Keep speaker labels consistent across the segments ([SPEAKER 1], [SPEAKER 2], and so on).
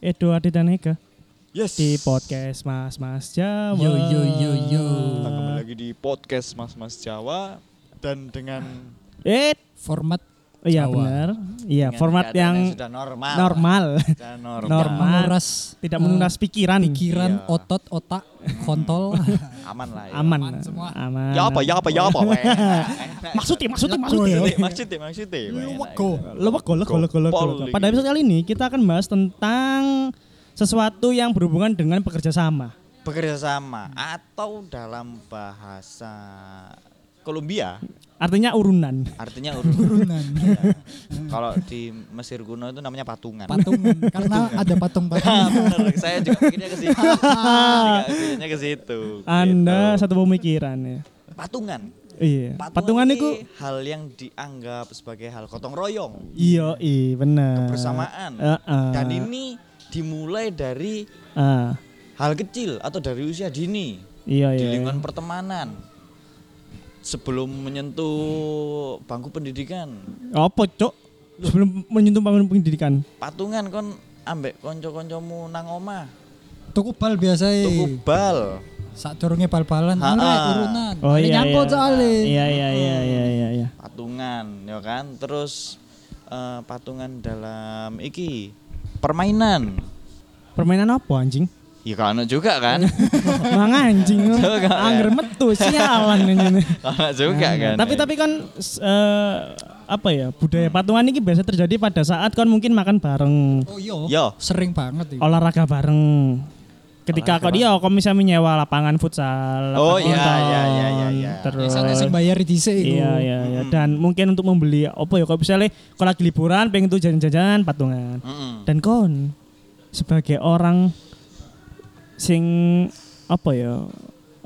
[SPEAKER 1] Edo Adidaneka
[SPEAKER 2] Yes.
[SPEAKER 1] di podcast Mas Mas Jawa.
[SPEAKER 3] Yo, yo, yo, yo.
[SPEAKER 2] Kita Nah, kembali lagi di podcast Mas Mas Jawa dan dengan
[SPEAKER 1] Eh,
[SPEAKER 3] Format
[SPEAKER 1] iya
[SPEAKER 3] Jawa.
[SPEAKER 1] benar. Iya,
[SPEAKER 2] dengan
[SPEAKER 1] format
[SPEAKER 2] keadaan
[SPEAKER 1] yang
[SPEAKER 2] sudah normal.
[SPEAKER 1] normal,
[SPEAKER 2] Sudah normal.
[SPEAKER 1] Normal.
[SPEAKER 3] menguras
[SPEAKER 1] tidak
[SPEAKER 3] eh,
[SPEAKER 1] menguras pikiran.
[SPEAKER 3] pikiran,
[SPEAKER 2] Iya.
[SPEAKER 3] otot, otak, kontol.
[SPEAKER 2] Aman lah. Ya.
[SPEAKER 1] Aman.
[SPEAKER 3] Aman semua.
[SPEAKER 1] Aman.
[SPEAKER 2] Ya apa? Ya apa? Ya apa? weh.
[SPEAKER 1] Maksudnya, maksudnya, maksudnya.
[SPEAKER 3] Lego ya.
[SPEAKER 2] Maksudnya, maksudnya, maksudnya. weh.
[SPEAKER 3] Lego.
[SPEAKER 1] Lewek, lewek, lewek, lewek, lewek.
[SPEAKER 2] Poli.
[SPEAKER 1] Pada episode kali ini kita akan bahas tentang sesuatu yang berhubungan dengan pekerja sama.
[SPEAKER 2] Bekerja sama atau dalam bahasa Kolombia
[SPEAKER 1] Artinya urunan.
[SPEAKER 2] artinya urun.
[SPEAKER 3] Turunan.
[SPEAKER 2] Kalau di Mesir kuno itu namanya patungan.
[SPEAKER 3] Patungan. Karena ada
[SPEAKER 2] Ah,
[SPEAKER 3] patung-patung.
[SPEAKER 2] bener. Saya juga pikirnya ke situ. Juga Pikirnya ke situ.
[SPEAKER 1] Anda
[SPEAKER 2] Gitu.
[SPEAKER 1] satu pemikiran ya.
[SPEAKER 2] patungan.
[SPEAKER 1] Iya. Patungan
[SPEAKER 2] iki
[SPEAKER 1] itu
[SPEAKER 2] hal yang dianggap sebagai hal gotong royong,
[SPEAKER 1] Iya, iya benar.
[SPEAKER 2] kebersamaan.
[SPEAKER 1] Heeh.
[SPEAKER 2] Dan ini dimulai dari
[SPEAKER 1] Ah,
[SPEAKER 2] hal kecil atau dari usia dini
[SPEAKER 1] iya
[SPEAKER 2] di
[SPEAKER 1] iya.
[SPEAKER 2] lingkungan pertemanan. Sebelum menyentuh bangku pendidikan,
[SPEAKER 1] Apa, Cok? Sebelum menyentuh bangun pendidikan.
[SPEAKER 2] patungan kon ambek konco-koncomu nang omah,
[SPEAKER 3] Tuku bal biasa
[SPEAKER 2] tuku bal.
[SPEAKER 3] Saat turunnya bal-balan.
[SPEAKER 2] Ha-ha.
[SPEAKER 3] Arek, urunan.
[SPEAKER 1] Oh
[SPEAKER 3] Ada
[SPEAKER 1] iya.
[SPEAKER 3] Nyangkut
[SPEAKER 1] iya.
[SPEAKER 3] soalnya. Oh.
[SPEAKER 1] Iya iya iya iya iya iya.
[SPEAKER 2] patungan ya kan terus eh, patungan dalam iki permainan
[SPEAKER 1] Permainan apa anjing?
[SPEAKER 2] ya kalau juga kan
[SPEAKER 1] Mang anjing.
[SPEAKER 2] Coba, ya.
[SPEAKER 1] Angger metu sialan ini.
[SPEAKER 2] kalau juga kan
[SPEAKER 1] Tapi tapi kan s- eh, apa ya budaya patungan ini biasa terjadi pada saat kan mungkin makan bareng,
[SPEAKER 3] Oh iya.
[SPEAKER 2] Yo.
[SPEAKER 3] Sering banget. itu.
[SPEAKER 1] olahraga bareng. Ketika kok dia kok bisa menyewa lapangan futsal,
[SPEAKER 2] Oh,
[SPEAKER 1] lapangan
[SPEAKER 2] iya,
[SPEAKER 1] badminton,
[SPEAKER 2] iya, iya, iya, iya.
[SPEAKER 1] Terus
[SPEAKER 3] Ya, sana sing bayar di sini.
[SPEAKER 1] Oh, Iya iya iya dan mungkin untuk membeli apa ya kalau misalnya kalau lagi liburan pengen tuh jajan-jajan patungan.
[SPEAKER 2] Mm-mm.
[SPEAKER 1] Dan kon sebagai orang sing apa ya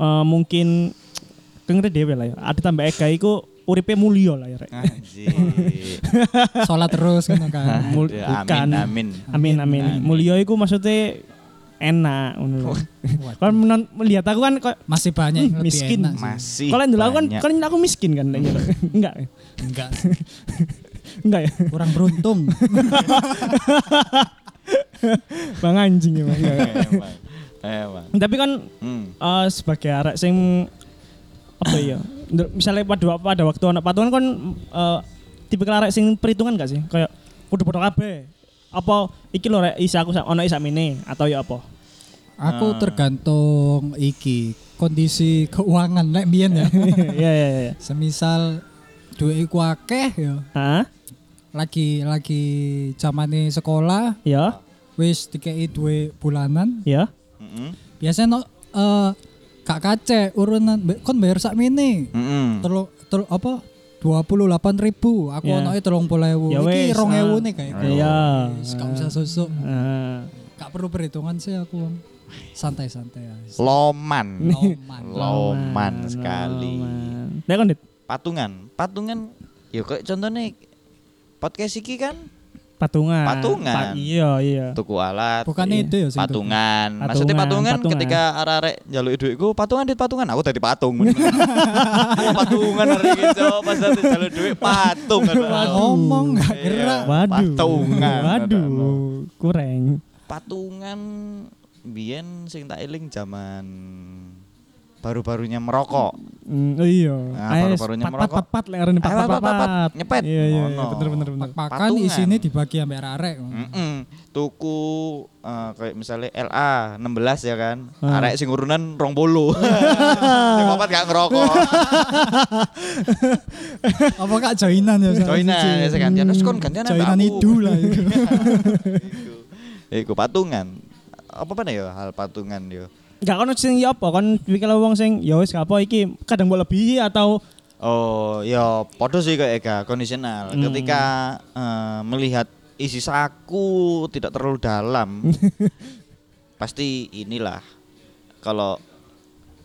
[SPEAKER 1] eh, mungkin kengeri dhewe lah ya. Ada tambah ega iku uripe mulya lah ya rek.
[SPEAKER 2] Ah, Anjir.
[SPEAKER 3] Sholat terus gitu kan.
[SPEAKER 1] Mul-
[SPEAKER 2] Aduh,
[SPEAKER 1] bukan.
[SPEAKER 2] amin amin
[SPEAKER 1] Amin amin. Mulya iku maksudnya enak ngono.
[SPEAKER 3] Waduh.
[SPEAKER 1] Kan menon- melihat aku kan kok
[SPEAKER 3] Masih banyak yang
[SPEAKER 1] Hmm,
[SPEAKER 3] lebih
[SPEAKER 1] miskin.
[SPEAKER 3] enak. sih.
[SPEAKER 2] masih
[SPEAKER 1] kalau yang dulu aku kan
[SPEAKER 2] banyak.
[SPEAKER 1] kan aku miskin kan Nek, nyelok. enggak ya?
[SPEAKER 3] Enggak.
[SPEAKER 1] enggak ya
[SPEAKER 3] Kurang beruntung.
[SPEAKER 1] bang anjing ya Bang. Enggak, ya.
[SPEAKER 2] emang emang
[SPEAKER 1] tapi kan
[SPEAKER 2] Hmm.
[SPEAKER 1] eh, sebagai arek sing apa ya ndur- misalnya pada pada waktu anak patungan kan eh, tipikal arek sing perhitungan gak sih kayak kudu podo kabeh apa iki lho rek isa aku sa- ono isa mene atau ya apa
[SPEAKER 3] Aku tergantung iki kondisi keuangan lek mbiyen ya.
[SPEAKER 1] ya ya ya
[SPEAKER 3] Semisal duit iku akeh ya.
[SPEAKER 1] Hah?
[SPEAKER 3] Lagi lagi zamane sekolah
[SPEAKER 1] ya
[SPEAKER 3] wis dikei duit bulanan.
[SPEAKER 1] ya
[SPEAKER 2] Mm-mm.
[SPEAKER 3] Biasanya no eh gak kace urunan "Mbak, kon bayar sakmene.
[SPEAKER 2] Mm-mm.
[SPEAKER 1] Hmm.
[SPEAKER 3] Telu telu apa? 28 ribu, aku
[SPEAKER 1] Ya.
[SPEAKER 3] yeah. anaknya tolong puluh ewu,
[SPEAKER 1] Ya wis,
[SPEAKER 3] ini rong
[SPEAKER 1] ah.
[SPEAKER 3] ewu nih kayak
[SPEAKER 1] Iya.
[SPEAKER 3] gak usah susuk,
[SPEAKER 1] Ah.
[SPEAKER 3] gak perlu perhitungan sih aku, santai-santai aja.
[SPEAKER 2] loman
[SPEAKER 3] Loman.
[SPEAKER 2] loman sekali
[SPEAKER 1] Loman. Nek kon Dit,
[SPEAKER 2] patungan patungan ya kok contohnya podcast iki kan
[SPEAKER 1] patungan
[SPEAKER 2] Patungan.
[SPEAKER 1] iya iya
[SPEAKER 2] tuku alat iya.
[SPEAKER 3] Bukannya itu ya sing
[SPEAKER 2] patungan. Maksudnya patungan,
[SPEAKER 1] patungan.
[SPEAKER 2] ketika arek-arek njaluk duitku, patungan dit patungan. Aku tadi patung. Aku patungan hari ini, Cok. Pas tadi njaluk duit patung.
[SPEAKER 3] Waduh. Ngomong
[SPEAKER 1] Eh,
[SPEAKER 3] gak
[SPEAKER 2] Iya.
[SPEAKER 3] gerak.
[SPEAKER 1] Waduh.
[SPEAKER 2] Patungan.
[SPEAKER 1] Waduh, kurang.
[SPEAKER 2] Patungan biyen sing tak eling zaman baru-barunya merokok.
[SPEAKER 1] Mm, iya.
[SPEAKER 2] Nah,
[SPEAKER 1] Ayo,
[SPEAKER 2] paru-parunya
[SPEAKER 1] papat
[SPEAKER 2] merokok.
[SPEAKER 1] papat lek arene papat
[SPEAKER 2] Ayo, papat,
[SPEAKER 1] papat.
[SPEAKER 2] nyepet. Oh,
[SPEAKER 1] Iya iya,
[SPEAKER 2] Ono.
[SPEAKER 1] bener bener bener.
[SPEAKER 3] Pakan
[SPEAKER 2] Patungan.
[SPEAKER 3] isine dibagi ambek arek.
[SPEAKER 1] Hmm.
[SPEAKER 2] Mm-mm. Tuku eh, kayak misalnya LA 16 ya kan.
[SPEAKER 1] Ah.
[SPEAKER 2] Arek sing urunan 20. Sing papat gak ngerokok.
[SPEAKER 3] Apa kak joinan ya? Sa?
[SPEAKER 2] Joinan ya gantian. Terus kon gantian apa
[SPEAKER 3] Joinan
[SPEAKER 2] aku?
[SPEAKER 3] itu lah itu.
[SPEAKER 2] Iku patungan. Apa mana ya hal patungan yo?
[SPEAKER 1] Enggak kono sing ya apa kon pikir wong sing ya wis gak apa iki kadang mbok lebihi atau
[SPEAKER 2] Oh, ya podo sih kayak Ega, kondisional.
[SPEAKER 1] Hmm.
[SPEAKER 2] Ketika eh, melihat isi saku tidak terlalu dalam, pasti inilah kalau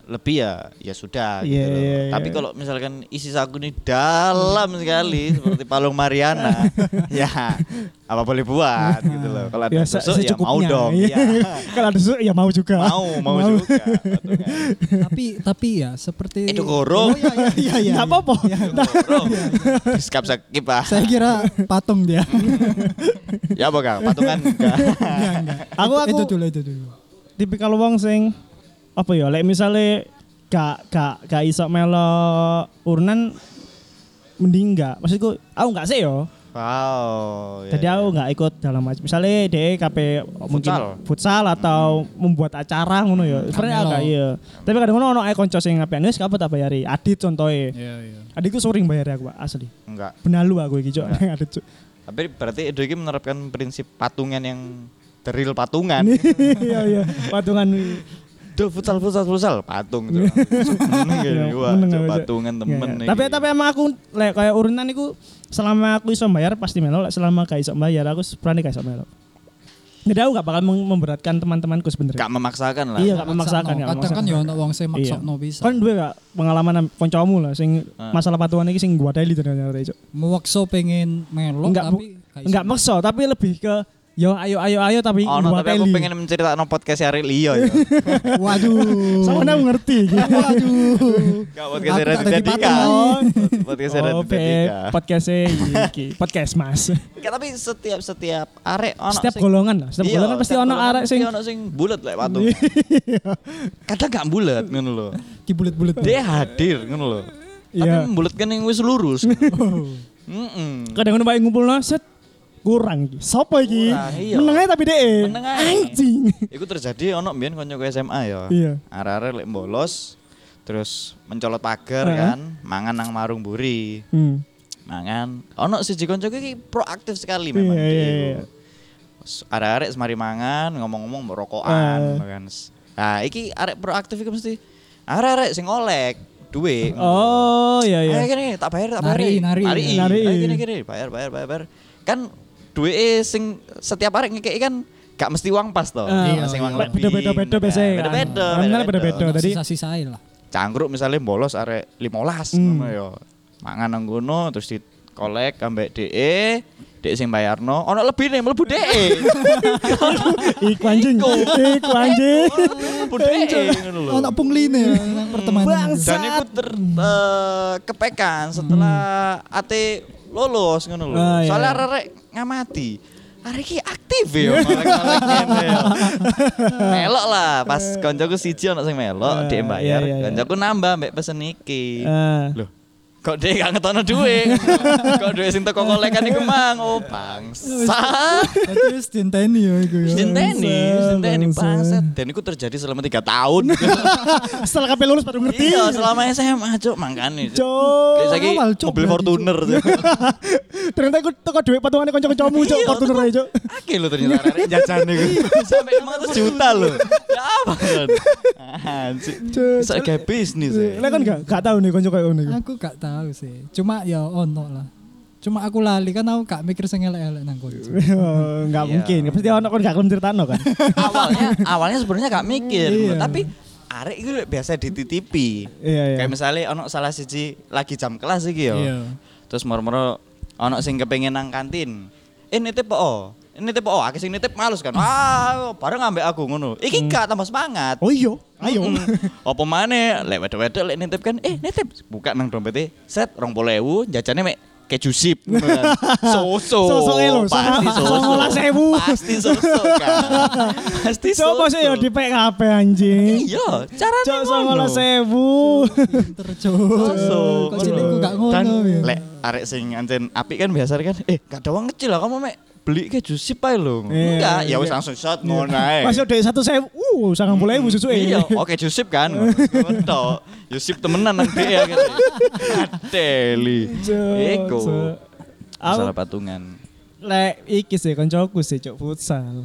[SPEAKER 2] lebih ya ya sudah gitu
[SPEAKER 1] Iya, iya,
[SPEAKER 2] loh.
[SPEAKER 1] iya.
[SPEAKER 2] Tapi kalau misalkan isi saku ini dalam sekali seperti palung Mariana, ya apa boleh buat gitu loh. Kalau ada
[SPEAKER 1] Biasa
[SPEAKER 2] tusuk ya mau dong.
[SPEAKER 1] Iya.
[SPEAKER 2] Ya.
[SPEAKER 1] Kalau ada susuk ya mau juga.
[SPEAKER 2] Mau, mau juga.
[SPEAKER 3] tapi tapi ya seperti
[SPEAKER 2] Itu
[SPEAKER 1] Oh,
[SPEAKER 2] gorong.
[SPEAKER 3] Iya, iya, iya, iya.
[SPEAKER 1] Nggak apa-apa.
[SPEAKER 3] Iya.
[SPEAKER 2] Gorong. Skap skip ah.
[SPEAKER 3] Saya kira patung dia.
[SPEAKER 2] Ya apa Kang? Patungan enggak.
[SPEAKER 3] Enggak, enggak.
[SPEAKER 1] Aku-
[SPEAKER 3] Itu- itu
[SPEAKER 1] aku-
[SPEAKER 3] dulu itu dulu.
[SPEAKER 1] Tipikal wong sing apa ya, lek misale gak gak gak iso melo urunan mending gak. Maksudku aku gak sih yo.
[SPEAKER 2] Wow. ya,
[SPEAKER 1] Jadi
[SPEAKER 2] ya.
[SPEAKER 1] aku nggak ikut dalam macam. Misalnya DE KP mungkin
[SPEAKER 2] Futsal.
[SPEAKER 1] futsal atau membuat acara ngono ya. Sebenarnya
[SPEAKER 3] Kamelo.
[SPEAKER 1] agak iya. Tapi kadang ngono ono ae kanca sing ngapain wis kapet tak bayari. Adit contoe.
[SPEAKER 3] Iya, iya.
[SPEAKER 1] Aditku sering bayari aku Pak, asli.
[SPEAKER 2] enggak.
[SPEAKER 1] Benalu aku iki cok.
[SPEAKER 2] Enggak.
[SPEAKER 1] Adit cok.
[SPEAKER 2] Tapi berarti Edo ini menerapkan prinsip patungan yang the real patungan.
[SPEAKER 1] Iya iya. Patungan wi.
[SPEAKER 2] Duh futsal futsal futsal patung tuh.
[SPEAKER 1] Iya,
[SPEAKER 2] Wah,
[SPEAKER 1] meneng
[SPEAKER 2] cok,
[SPEAKER 1] aku, Cok.
[SPEAKER 2] patungan
[SPEAKER 1] Iya,
[SPEAKER 2] temen.
[SPEAKER 1] iya.
[SPEAKER 2] nih.
[SPEAKER 1] Tapi tapi emang aku lek kaya urunan iku selama aku iso bayar pasti melo, lek selama gak iso bayar aku berani gak iso melo. Jadi aku gak bakal mem- memberatkan teman-temanku sebenarnya.
[SPEAKER 2] gak memaksakan lah.
[SPEAKER 1] Iya, gak memaksakan, gak
[SPEAKER 3] Kadang kan
[SPEAKER 1] memaksakan.
[SPEAKER 3] ya ono wong sing maksokno bisa.
[SPEAKER 1] Kan duwe gak pengalaman am- koncomu lah sing
[SPEAKER 2] Ah.
[SPEAKER 1] masalah patuan iki sing gua daily ternyata Cuk.
[SPEAKER 3] Muwakso pengen melok
[SPEAKER 1] Enggak,
[SPEAKER 3] tapi gak iso.
[SPEAKER 1] Enggak maksa tapi lebih ke yo ayo ayo ayo tapi
[SPEAKER 2] Oh, no,
[SPEAKER 1] gua
[SPEAKER 2] tapi aku
[SPEAKER 1] daily.
[SPEAKER 2] pengen menceritakan podcast hari Leo ya.
[SPEAKER 3] Waduh.
[SPEAKER 1] Sama aku ngerti. gitu.
[SPEAKER 3] Waduh.
[SPEAKER 2] Gak podcast
[SPEAKER 3] Aku
[SPEAKER 2] hari
[SPEAKER 3] tak jadi
[SPEAKER 2] Dika.
[SPEAKER 3] patung.
[SPEAKER 2] Podcast hari
[SPEAKER 1] Oh, Beb,
[SPEAKER 2] Dika.
[SPEAKER 1] podcast-e iki, podcast Mas.
[SPEAKER 2] Enggak, tapi setiap setiap arek ono
[SPEAKER 1] Setiap
[SPEAKER 2] sing-
[SPEAKER 1] golongan lah, setiap
[SPEAKER 2] Iya,
[SPEAKER 1] golongan pasti
[SPEAKER 2] setiap
[SPEAKER 1] ono
[SPEAKER 2] golongan
[SPEAKER 1] arek
[SPEAKER 2] mesti
[SPEAKER 1] sing
[SPEAKER 2] ono sing bulet lek patung. Kadang gak bulet ngono lho.
[SPEAKER 3] Dibulet-bulet.
[SPEAKER 2] Dia hadir ngono lho. Tapi
[SPEAKER 1] Iya.
[SPEAKER 2] membulatkan yang wis lurus.
[SPEAKER 3] Oh.
[SPEAKER 2] Heeh.
[SPEAKER 1] kadang ngono bae ngumpulno set kurang iki. Sopo iki?
[SPEAKER 2] Kurang, iya.
[SPEAKER 1] Meneng ae tapi dhek.
[SPEAKER 2] Meneng ae.
[SPEAKER 1] Anjing.
[SPEAKER 2] Iku terjadi ono mbiyen kancaku SMA ya.
[SPEAKER 1] Iya.
[SPEAKER 2] Arek-arek lek bolos terus mencolot pagar
[SPEAKER 1] Heeh.
[SPEAKER 2] kan, mangan nang marung buri.
[SPEAKER 1] Hmm.
[SPEAKER 2] Mangan. Nah, kan? Ono siji kancaku iki proaktif sekali memang.
[SPEAKER 1] Iya,
[SPEAKER 2] dia
[SPEAKER 1] iya,
[SPEAKER 2] iku.
[SPEAKER 1] iya.
[SPEAKER 2] S- Arek-arek semari mangan, ngomong-ngomong mau rokokan
[SPEAKER 1] Eh.
[SPEAKER 2] kan. Nah, iki arek proaktif iki mesti arek-arek sing olek duit.
[SPEAKER 1] Oh, iya iya.
[SPEAKER 2] Ayo gini, tak bayar, tak bayar.
[SPEAKER 3] Nari, nari.
[SPEAKER 1] Nari.
[SPEAKER 2] Ayo gini, gini, bayar, bayar, bayar, bayar. Kan duit sing setiap hari ngekei kan gak mesti uang pas toh.
[SPEAKER 1] Eh,
[SPEAKER 2] Sing uang
[SPEAKER 1] Be-
[SPEAKER 2] lebih.
[SPEAKER 1] Beda-beda-beda
[SPEAKER 2] Nah,
[SPEAKER 1] biasanya. kan.
[SPEAKER 2] Iya. Beda-beda.
[SPEAKER 1] Nominal beda-beda. Tadi
[SPEAKER 3] Sisa-sisa ae lah.
[SPEAKER 2] Cangkruk misalnya bolos arek 15
[SPEAKER 1] Hmm.
[SPEAKER 2] ngono yo. Mangan nang kono terus di kolek ambek DE, DE E sing bayarno, ono lebih nih mlebu E. DE.
[SPEAKER 1] iku anjing. Iku anjing.
[SPEAKER 2] Ono lebih mlebu DE ngono lho.
[SPEAKER 3] Ono pungline ya, nang pertemanan.
[SPEAKER 2] Dan itu ter eh, kepekan setelah AT lolos ngono lho.
[SPEAKER 1] Hmm. Ah, iya.
[SPEAKER 2] Soalnya arek ngamati. Arek iki aktif ya malah-malah ngene ya. Melok lah pas koncoku siji ono sing melok,
[SPEAKER 1] Ah,
[SPEAKER 2] dhek
[SPEAKER 1] iya,
[SPEAKER 2] bayar.
[SPEAKER 1] iya, iya.
[SPEAKER 2] Koncoku nambah mbek pesen iki.
[SPEAKER 1] Eh,
[SPEAKER 2] Loh, kok dhek gak ngetono dhuwit? kok dhuwit sing teko kolekan iku mang oh bangsat.
[SPEAKER 3] Berarti wis Oh, dinteni ya iku ya.
[SPEAKER 2] Sinteni, sinteni
[SPEAKER 1] bangsat.
[SPEAKER 2] bangsat. Dan itu terjadi selama 3 tahun.
[SPEAKER 1] Setelah kabeh lulus baru ngerti.
[SPEAKER 2] Iya, selama SMA, Cuk, mangkane. Cuk.
[SPEAKER 1] Cok.
[SPEAKER 2] Kayak saiki
[SPEAKER 3] awal, Cuk,
[SPEAKER 2] mobil
[SPEAKER 3] berarti,
[SPEAKER 2] Fortuner.
[SPEAKER 1] Ternyata aku teko duit patungane kanca-kancamu cok
[SPEAKER 2] Iya,
[SPEAKER 1] Fortuner ae cok.
[SPEAKER 2] Oke lo ternyata arek jajan iku. Sampai 500 juta lo. Ya apa kan? Anjir.
[SPEAKER 1] Cuk,
[SPEAKER 2] Bisa kayak bisnis ya.
[SPEAKER 1] Lah kan gak gak tahu nih kanca koyo ngono iku.
[SPEAKER 3] Aku gak tahu sih. Cuma ya ono lah. Cuma aku lali kan aku gak mikir sing elek-elek nang kono.
[SPEAKER 1] Enggak
[SPEAKER 2] Iya.
[SPEAKER 1] mungkin. Pasti ono kon gak kelem ceritano kan.
[SPEAKER 2] Awalnya awalnya sebenarnya gak mikir,
[SPEAKER 3] Iya.
[SPEAKER 2] tapi arek itu biasa dititipi.
[SPEAKER 1] Iya iya.
[SPEAKER 2] Kayak misalnya ono salah siji lagi jam kelas iki yo.
[SPEAKER 3] Iya.
[SPEAKER 2] Terus moro-moro ono sing kepengin nang kantin. Eh nitip po. oh. Eh, Nitip po. oh, akeh sing nitip males kan. Ah, bareng ambek aku ngono. Iki gak tambah semangat.
[SPEAKER 1] Oh iya, ayo.
[SPEAKER 2] Mm. Apa mana? Lek wedok-wedok lek nitip kan, eh nitip buka nang dompete, set 20.000, jajannya mek keju sip. ngono kan. Soso.
[SPEAKER 1] Sosoke lho,
[SPEAKER 2] pasti
[SPEAKER 1] songo-
[SPEAKER 2] soso.
[SPEAKER 1] songolas.000.
[SPEAKER 2] Pasti soso kan. Pasti soso.
[SPEAKER 1] Coba sih ya di PKP anjing.
[SPEAKER 2] Iya, carane
[SPEAKER 1] Cok
[SPEAKER 2] ngono.
[SPEAKER 1] songolah sewu.
[SPEAKER 3] Pinter cuk.
[SPEAKER 2] Soso.
[SPEAKER 3] Kok jenengku gak ngono
[SPEAKER 2] Dan
[SPEAKER 3] ya.
[SPEAKER 2] lek arek sing ancen apik kan biasanya kan, eh gak ada uang kecil lah kamu mek beli keju sip ae lho.
[SPEAKER 1] Iya,
[SPEAKER 2] Enggak, ya wis
[SPEAKER 1] iya.
[SPEAKER 2] langsung shot ngono ae.
[SPEAKER 1] Masih udah satu sewu, uh, sangat mulai bu susu
[SPEAKER 2] Iya, oke Yusip kan. Betul. Yusip temenan nanti ya gitu. Adeli. Eko.
[SPEAKER 1] Aku
[SPEAKER 2] Masalah patungan.
[SPEAKER 1] lek iki sih koncoku sih cok futsal.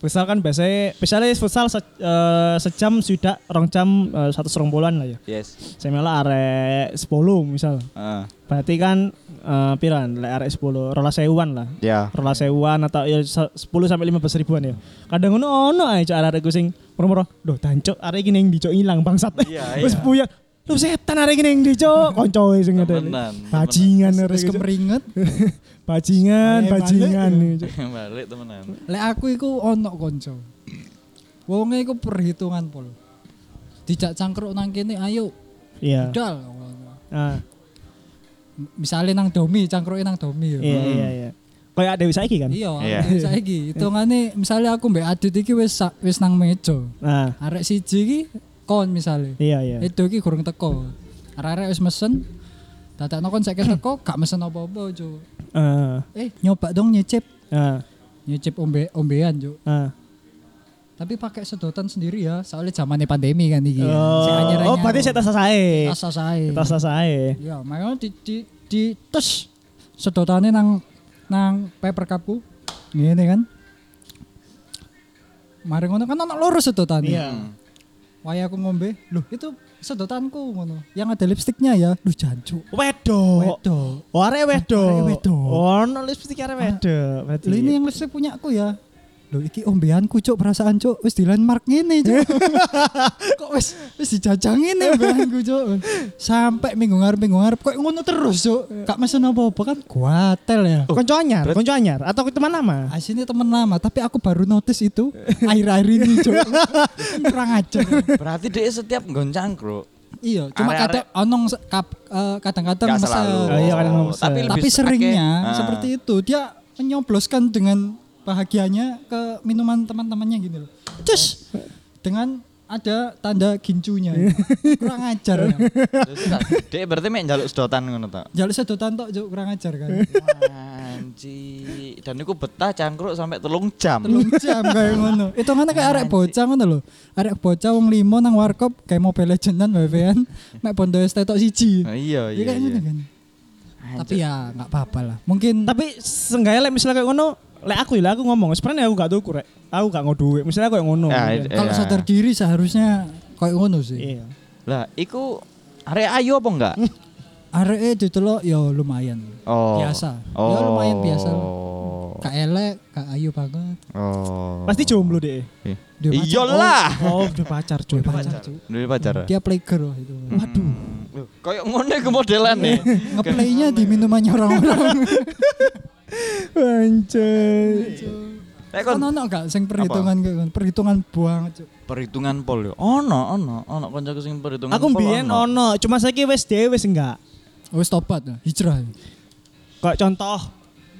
[SPEAKER 1] Futsal kan biasanya, biasanya futsal se, eh, sejam sudah rong jam eh, satu serong bulan lah ya.
[SPEAKER 2] Yes. Ah.
[SPEAKER 1] Saya malah arek 10 misal.
[SPEAKER 2] Heeh.
[SPEAKER 1] Berarti kan eh piran lek arek 10 rolas sewuan lah.
[SPEAKER 2] Ya.
[SPEAKER 1] Rolas sewuan atau ya se- 10 sampai 15 ribuan ya. Kadang ngono ono ae cak arek ku sing moro-moro, "Duh, dancuk arek iki ning dicok ilang bangsat."
[SPEAKER 2] Iya,
[SPEAKER 1] Wis
[SPEAKER 2] iya.
[SPEAKER 1] puyeng. Lu setan arek iki ning dicok, koncoe sing ngene.
[SPEAKER 2] Temenan,
[SPEAKER 1] Bajingan arek
[SPEAKER 3] Terus
[SPEAKER 1] iki, Cuk.
[SPEAKER 3] kemeringet.
[SPEAKER 1] Bajingan,
[SPEAKER 3] Ayo, balik.
[SPEAKER 1] bajingan. Cuk.
[SPEAKER 2] Balik temenan.
[SPEAKER 3] Lek aku iku ono konco. Wonge iku perhitungan pol. Dijak cangkruk nang kene ayo
[SPEAKER 1] Iya.
[SPEAKER 3] budal.
[SPEAKER 1] Ah,
[SPEAKER 3] Misalnya nang domi, cangkruke nang domi ya.
[SPEAKER 1] Iya, iya, iya. Kayak Dewi Saiki kan?
[SPEAKER 3] Iya,
[SPEAKER 2] Iya.
[SPEAKER 3] yeah. saiki hitungane misalnya aku mbek Adit iki wis sa- wis nang meja.
[SPEAKER 1] Nah,
[SPEAKER 3] Arek siji iki kon misalnya.
[SPEAKER 1] iya, iya.
[SPEAKER 3] Edo iki gorong teko. Arek-arek wis mesen. Dadakno kon saiki teko gak mesen apa-apa, Cuk.
[SPEAKER 1] Eh,
[SPEAKER 3] Eh, nyoba dong nyicip.
[SPEAKER 1] eh,
[SPEAKER 3] Nyicip ombe ombean, Cuk.
[SPEAKER 1] eh.
[SPEAKER 3] Tapi pakai sedotan sendiri ya, soalnya zamannya pandemi kan iki. Sik anyar-anyar.
[SPEAKER 1] Oh, oh, berarti saya tas sae.
[SPEAKER 3] tas sae.
[SPEAKER 1] Tas sae.
[SPEAKER 3] Ya, makanya di di di tes sedotannya nang nang paper cupku. Ngene kan. Mari ngono kan anak lurus sedotannya.
[SPEAKER 1] Iya.
[SPEAKER 3] Waya aku ngombe. Loh, itu sedotanku ngono. Yang ada lipstiknya ya. Lu jancuk.
[SPEAKER 1] Wedok.
[SPEAKER 3] Wedok.
[SPEAKER 1] Oh, arek
[SPEAKER 3] Arek
[SPEAKER 1] wedok.
[SPEAKER 3] wedok.
[SPEAKER 1] Oh, no lipstik arek wedok. Berarti.
[SPEAKER 3] Lho ini yang listrik punya aku ya. Lho iki ombeanku cuk perasaan cuk wis di landmark ngene cuk. kok wis wis dijajang ngene ombeanku cuk. Sampai minggu ngarep minggu ngarep kok ngono terus cuk. Gak mesen apa-apa kan kuatel ya.
[SPEAKER 1] konco anyar,
[SPEAKER 2] berarti-
[SPEAKER 1] konco anyar atau teman lama?
[SPEAKER 3] Aslinya temen lama tapi aku baru notice itu akhir-akhir ini cuk. Kurang ajar.
[SPEAKER 2] Berarti dia setiap goncang bro.
[SPEAKER 3] Iya, cuma
[SPEAKER 2] Are-are-
[SPEAKER 3] kadang onong se- kap- eh,
[SPEAKER 2] Gak
[SPEAKER 3] kadang-kadang mesen.
[SPEAKER 2] selalu.
[SPEAKER 1] Oh, iya, kadang mesen.
[SPEAKER 2] Tapi, lebih
[SPEAKER 3] Tapi
[SPEAKER 2] akeh.
[SPEAKER 3] seringnya
[SPEAKER 2] Ah.
[SPEAKER 3] seperti itu dia menyobloskan dengan bahagianya ke minuman teman-temannya gitu loh. Cus. Dengan ada tanda gincunya. kurang ajar. ya.
[SPEAKER 2] Terus, Dia berarti main jaluk sedotan ngono ta.
[SPEAKER 3] Jalur sedotan tok Cuk, kurang ajar kan.
[SPEAKER 2] Anji. Dan niku betah cangkruk sampai telung jam.
[SPEAKER 3] Telung jam kayak ngono. Itu kan kayak arek bocah ngono lho. Arek bocah wong limo nang warkop kayak Mobile Legendan WP-an. Mek bondo ST tok siji.
[SPEAKER 2] Nah, iya
[SPEAKER 3] Iya
[SPEAKER 2] iya.
[SPEAKER 3] kayak
[SPEAKER 2] iya.
[SPEAKER 3] ngono kan. Tapi ya nggak apa-apa lah. Mungkin
[SPEAKER 1] Tapi seenggaknya lek misalnya kayak ngono, lek aku ya lek aku ngomong, sebenarnya aku gak tuku rek. Aku gak ngono duit, misalnya kayak ngono.
[SPEAKER 2] Ya,
[SPEAKER 1] mungkin.
[SPEAKER 2] it-
[SPEAKER 3] kalau
[SPEAKER 2] Iya.
[SPEAKER 3] sadar diri seharusnya kayak ngono sih.
[SPEAKER 1] Ah, Iya.
[SPEAKER 2] Lah, iku arek ayu apa enggak?
[SPEAKER 3] Areke ditelok ya lumayan.
[SPEAKER 2] Oh.
[SPEAKER 3] Biasa.
[SPEAKER 2] Oh.
[SPEAKER 3] Ya lumayan biasa. Kak elek, kak ayu banget.
[SPEAKER 2] Oh.
[SPEAKER 1] Pasti jomblo deh.
[SPEAKER 2] Iya.
[SPEAKER 3] Dia pacar.
[SPEAKER 2] Iyalah.
[SPEAKER 1] Oh, udah pacar cuy.
[SPEAKER 3] Pacar Cuk.
[SPEAKER 2] Dulu pacar.
[SPEAKER 3] Dia playgirl itu.
[SPEAKER 2] Hmm.
[SPEAKER 3] Waduh.
[SPEAKER 2] Loh, Kayak ngono iku
[SPEAKER 3] Iya.
[SPEAKER 2] modelane.
[SPEAKER 3] Ngeplaynya di minumannya orang-orang.
[SPEAKER 2] Eh,
[SPEAKER 1] Anjay.
[SPEAKER 2] Nek kon
[SPEAKER 3] Kan ono gak sing perhitungan kayak ngono? Perhitungan banget, Cuk.
[SPEAKER 2] perhitungan pol yo. Ono, ono, ono kancaku sing perhitungan
[SPEAKER 1] Aku
[SPEAKER 2] pol
[SPEAKER 1] mbiyen ono, cuma saiki wis dhewe wis enggak.
[SPEAKER 3] Wis tobat, ya, hijrah.
[SPEAKER 1] Kayak contoh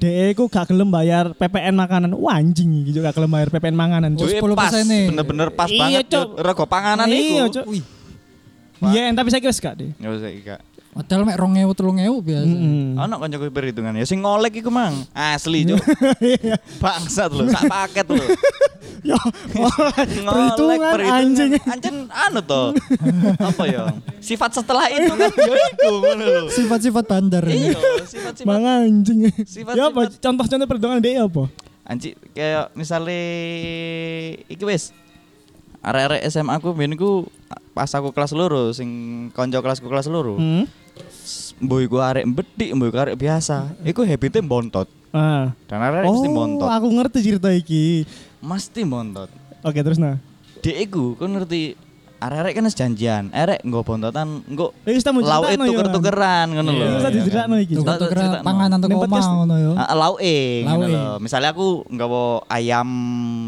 [SPEAKER 1] DE ku gak gelem bayar PPN makanan. Wah anjing iki juga gak gelem bayar PPN makanan. Cuk.
[SPEAKER 2] Duwe
[SPEAKER 3] 10%
[SPEAKER 2] eh, pas,
[SPEAKER 3] nih.
[SPEAKER 2] bener-bener pas
[SPEAKER 1] Iya,
[SPEAKER 2] banget.
[SPEAKER 1] Cuk.
[SPEAKER 2] yo. Rego panganan iku.
[SPEAKER 1] Iya, Cuk.
[SPEAKER 3] Wih,
[SPEAKER 1] Iya, tapi saiki wis gak deh.
[SPEAKER 2] Ya wis iki, Kak.
[SPEAKER 3] modal mek 2000 3.000 biasa.
[SPEAKER 2] Hmm.
[SPEAKER 1] Mm-mm.
[SPEAKER 2] Ono kancaku perhitungan ya sing ngolek iku mang. Asli, Cuk.
[SPEAKER 3] Iya.
[SPEAKER 2] Bangsat lho, sak paket lho.
[SPEAKER 1] Ya,
[SPEAKER 2] Ngolek,
[SPEAKER 1] perhitungan anjing.
[SPEAKER 2] Anjing anu to. Apa ya? Sifat setelah itu kan ya iku ngono lho.
[SPEAKER 3] Sifat-sifat bandar.
[SPEAKER 2] Iya, sifat-sifat
[SPEAKER 1] Mang anjing.
[SPEAKER 2] Sifat-
[SPEAKER 1] Ya apa
[SPEAKER 2] sifat.
[SPEAKER 1] contoh-contoh perhitungan dia apa?
[SPEAKER 2] Anji kayak misalnya iki wis arek-arek SMA aku mbiyen ku pas aku kelas loro sing konco kelasku kelas loro.
[SPEAKER 1] Hmm?
[SPEAKER 2] Mbok iku arek bedik, mbok iku arek biasa. Iku habitnya bontot.
[SPEAKER 1] Ah.
[SPEAKER 2] Dan arek mesti
[SPEAKER 1] Hmm. Oh,
[SPEAKER 2] bontot.
[SPEAKER 1] aku ngerti cerita iki.
[SPEAKER 2] Mesti bontot.
[SPEAKER 1] Oke, terus nah.
[SPEAKER 2] Dek iku kan ngerti arek-arek kan wis janjian, arek nggo bontotan nggo
[SPEAKER 1] Eh, kita mau ceritakno, ya,
[SPEAKER 2] lauk itu
[SPEAKER 1] Ran.
[SPEAKER 2] tuker-tukeran ngono
[SPEAKER 1] Iya,
[SPEAKER 2] lho. Iya
[SPEAKER 1] bisa
[SPEAKER 2] kan?
[SPEAKER 1] diceritano iki.
[SPEAKER 3] Tuh
[SPEAKER 2] Cerita-
[SPEAKER 3] tuh kira
[SPEAKER 2] cerita-
[SPEAKER 3] panganan teko
[SPEAKER 1] Ning podcast-
[SPEAKER 3] omah ngono ya.
[SPEAKER 2] Ah, Lauke, ngono
[SPEAKER 3] Lauke.
[SPEAKER 2] lho.
[SPEAKER 1] eh.
[SPEAKER 2] Misalnya aku nggawa ayam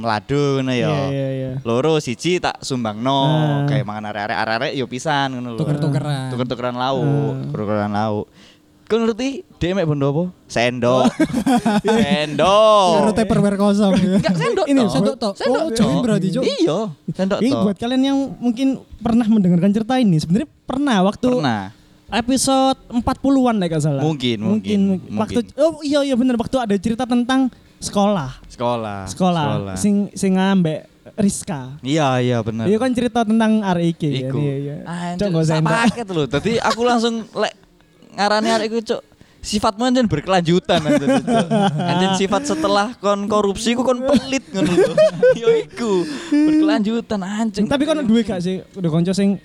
[SPEAKER 2] lado ngono ya.
[SPEAKER 1] Iya, iya, iya.
[SPEAKER 2] loro siji tak sumbangno
[SPEAKER 1] Ah.
[SPEAKER 2] kayak mangan arek-arek arek yo pisan ngono lho
[SPEAKER 3] Tuker-tukeran.
[SPEAKER 2] tuker-tukeran lauk
[SPEAKER 1] Ah.
[SPEAKER 2] tuker-tukeran lauk Kau ngerti dia mek bondo apa sendok
[SPEAKER 1] Oh.
[SPEAKER 3] Karo
[SPEAKER 2] sendok
[SPEAKER 3] tupperware kosong ya.
[SPEAKER 2] enggak oh, iya. sendok
[SPEAKER 1] Ini,
[SPEAKER 2] toh.
[SPEAKER 3] sendok toh.
[SPEAKER 2] sendok
[SPEAKER 3] Oh,
[SPEAKER 2] toh.
[SPEAKER 3] jadi berarti, Cok.
[SPEAKER 2] iya sendok
[SPEAKER 1] Ini
[SPEAKER 2] toh.
[SPEAKER 1] buat kalian yang mungkin pernah mendengarkan cerita ini, sebenarnya pernah waktu
[SPEAKER 2] pernah
[SPEAKER 1] episode 40-an nek gak salah.
[SPEAKER 2] Mungkin, mungkin, mungkin.
[SPEAKER 1] Waktu oh iya iya bener waktu ada cerita tentang sekolah.
[SPEAKER 2] Ah, sekolah
[SPEAKER 1] Sekolah, sing sing ambek Rizka.
[SPEAKER 2] iya iya bener
[SPEAKER 1] Iya kan cerita tentang arek iki
[SPEAKER 2] Iku.
[SPEAKER 1] Iya, iya. Cok
[SPEAKER 2] Anjir,
[SPEAKER 1] gak usah
[SPEAKER 2] sak
[SPEAKER 1] endak.
[SPEAKER 2] paket lho. Tadi aku langsung lek ngarani arek iku cuk sifatmu anjen berkelanjutan anjen. Cuk. Anjen sifat setelah kon korupsi ku kon pelit ngono lho. Ya iku, berkelanjutan anjing.
[SPEAKER 1] Tapi kan duwe gak sih udah konco sing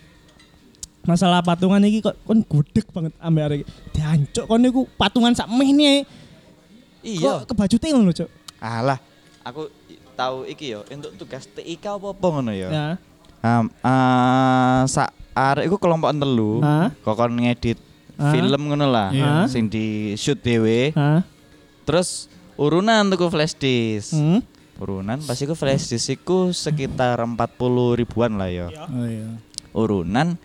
[SPEAKER 1] masalah patungan ini kok kon gudeg banget ambek arek iki. Diancuk kon niku patungan sak mehne.
[SPEAKER 2] Iya.
[SPEAKER 1] Kok kebajute ngono Cuk.
[SPEAKER 2] Alah, aku i- tahu iki yo untuk tugas TIK apa-apa ngono yo.
[SPEAKER 1] Ya.
[SPEAKER 2] Um, eh, sak arek iku kelompok telu.
[SPEAKER 1] Hah?
[SPEAKER 2] Kokon ngedit
[SPEAKER 1] Hah?
[SPEAKER 2] film ngono lah
[SPEAKER 1] Iya.
[SPEAKER 2] sing di shoot dhewe.
[SPEAKER 1] Hah?
[SPEAKER 2] Terus urunan tuku flash disk.
[SPEAKER 1] Hmm?
[SPEAKER 2] Urunan pas iku flash disk iku sekitar 40 ribuan lah yo.
[SPEAKER 3] Oh iya.
[SPEAKER 2] Urunan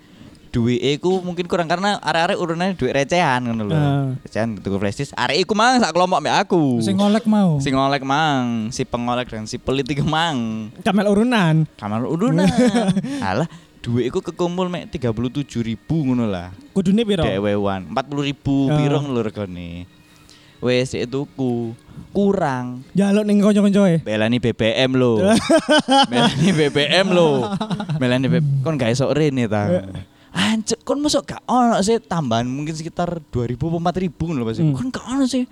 [SPEAKER 2] duit iku mungkin kurang karena arek-arek urunannya duit recehan ngono lho.
[SPEAKER 1] Ah.
[SPEAKER 2] Recehan tuku flash disk. Arek iku mang sak kelompok mbek aku.
[SPEAKER 3] Sing ngolek mau.
[SPEAKER 2] si ngolek mang, si pengolek dan si pelit iku mang.
[SPEAKER 1] Kamel urunan.
[SPEAKER 2] Kamar urunan. Alah, duit iku kekumpul mek 37 ribu ngono lah.
[SPEAKER 1] Kudune piro?
[SPEAKER 2] Dewewan, 40 ribu
[SPEAKER 1] Oh.
[SPEAKER 2] pirong lho regane. Wes sik tuku. Kurang.
[SPEAKER 1] Jaluk ning kanca-kancoe.
[SPEAKER 2] Belani BBM lho. Belani BBM lho. Belani BBM. Kon gak esok
[SPEAKER 1] Eh.
[SPEAKER 2] rene ta. Ancek, kon masuk gak ono sih tambahan mungkin sekitar 2000 apa 4000 ngono lho Mas.
[SPEAKER 1] Hmm.
[SPEAKER 2] Kon gak ono sih.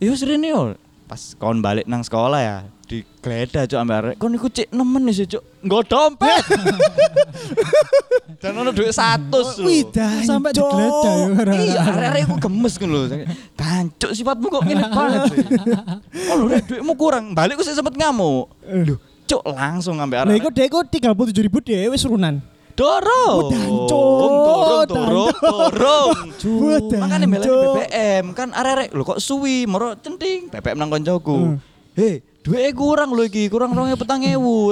[SPEAKER 2] Ya wis rene yo. Pas kon balik nang sekolah ya, digeledah cuk ambek arek. Kon iku cek nemen sih cuk. Nggo dompet. Dan ono duit 100 lho.
[SPEAKER 3] Widah sampai
[SPEAKER 1] Cuk.
[SPEAKER 3] digeledah ya.
[SPEAKER 2] Iya, arek-arek iku gemes ngono lho. Tancuk sifatmu kok ngene banget. sih. Oh lho, Rek, duitmu kurang. Balik ku sih sempet ngamuk.
[SPEAKER 1] Duh.
[SPEAKER 2] Cuk langsung ngambil
[SPEAKER 1] Lah
[SPEAKER 2] arek.
[SPEAKER 1] Eh, iku dhek iku 37.000 dhewe wis urunan.
[SPEAKER 2] dorong.
[SPEAKER 1] dancuk,
[SPEAKER 2] dorong, dorong, dorong.
[SPEAKER 1] Cuk.
[SPEAKER 2] Oh, Makane melek
[SPEAKER 1] Cuk.
[SPEAKER 2] BBM kan arek-arek lho kok suwi moro centing BBM nang
[SPEAKER 1] Hmm.
[SPEAKER 2] koncoku. Hei, duwe kurang lho iki, kurang 2.000.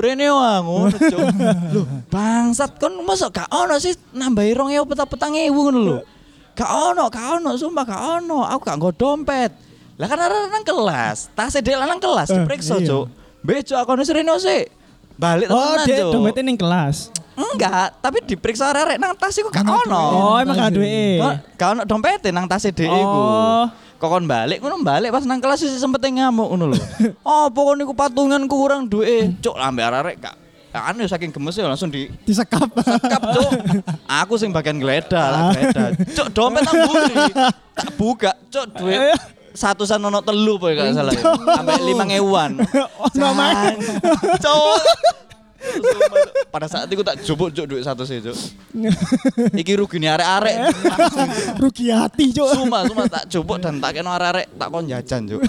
[SPEAKER 2] Rene wae ngono, Cuk. Lho, bangsat kon mosok gak ono sih nambahi 2.000 petang 4.000 ngono lho. Gak ono, gak ono, sumpah gak ono. Aku gak nggo dompet. Lah kan arek nang kelas, tas dhek nang kelas
[SPEAKER 1] Eh,
[SPEAKER 2] diperiksa,
[SPEAKER 1] iya.
[SPEAKER 2] Cuk. Becok aku nih Rene sik. Balik
[SPEAKER 1] Oh,
[SPEAKER 2] temenan,
[SPEAKER 1] dhek
[SPEAKER 2] Cuk.
[SPEAKER 1] dompete ning kelas.
[SPEAKER 2] Enggak, tapi diperiksa arek nang tas iku gak
[SPEAKER 3] Nang
[SPEAKER 2] ono.
[SPEAKER 1] Oh, emang gak duwe.
[SPEAKER 2] Kok gak ono dompete nang tas dhek iku.
[SPEAKER 1] Oh.
[SPEAKER 2] Kok kon balik ngono balik pas nang kelas wis sempet ngamuk ngono lho. Apa kon niku patungan kurang duwe? Cuk lambe arek gak anu saking gemes ya langsung di
[SPEAKER 3] Disekap.
[SPEAKER 2] Kap, Cuk. Aku sing bagian geledah, lah geledah. Cuk, dompet tak buri. Tak buka, Cuk, duit
[SPEAKER 1] Eh.
[SPEAKER 2] satusan ono telu apa ya gak salah. ya. Sampai lima ewan.
[SPEAKER 1] Ono main.
[SPEAKER 2] Cuk. Pada saat itu tak jubuk cuk duit satu sih cuk. Iki rugi nih arek-arek.
[SPEAKER 1] Rugi hati, Cuk.
[SPEAKER 2] Suma suma tak jubuk dan tak kena arek-arek tak kon jajan cuk.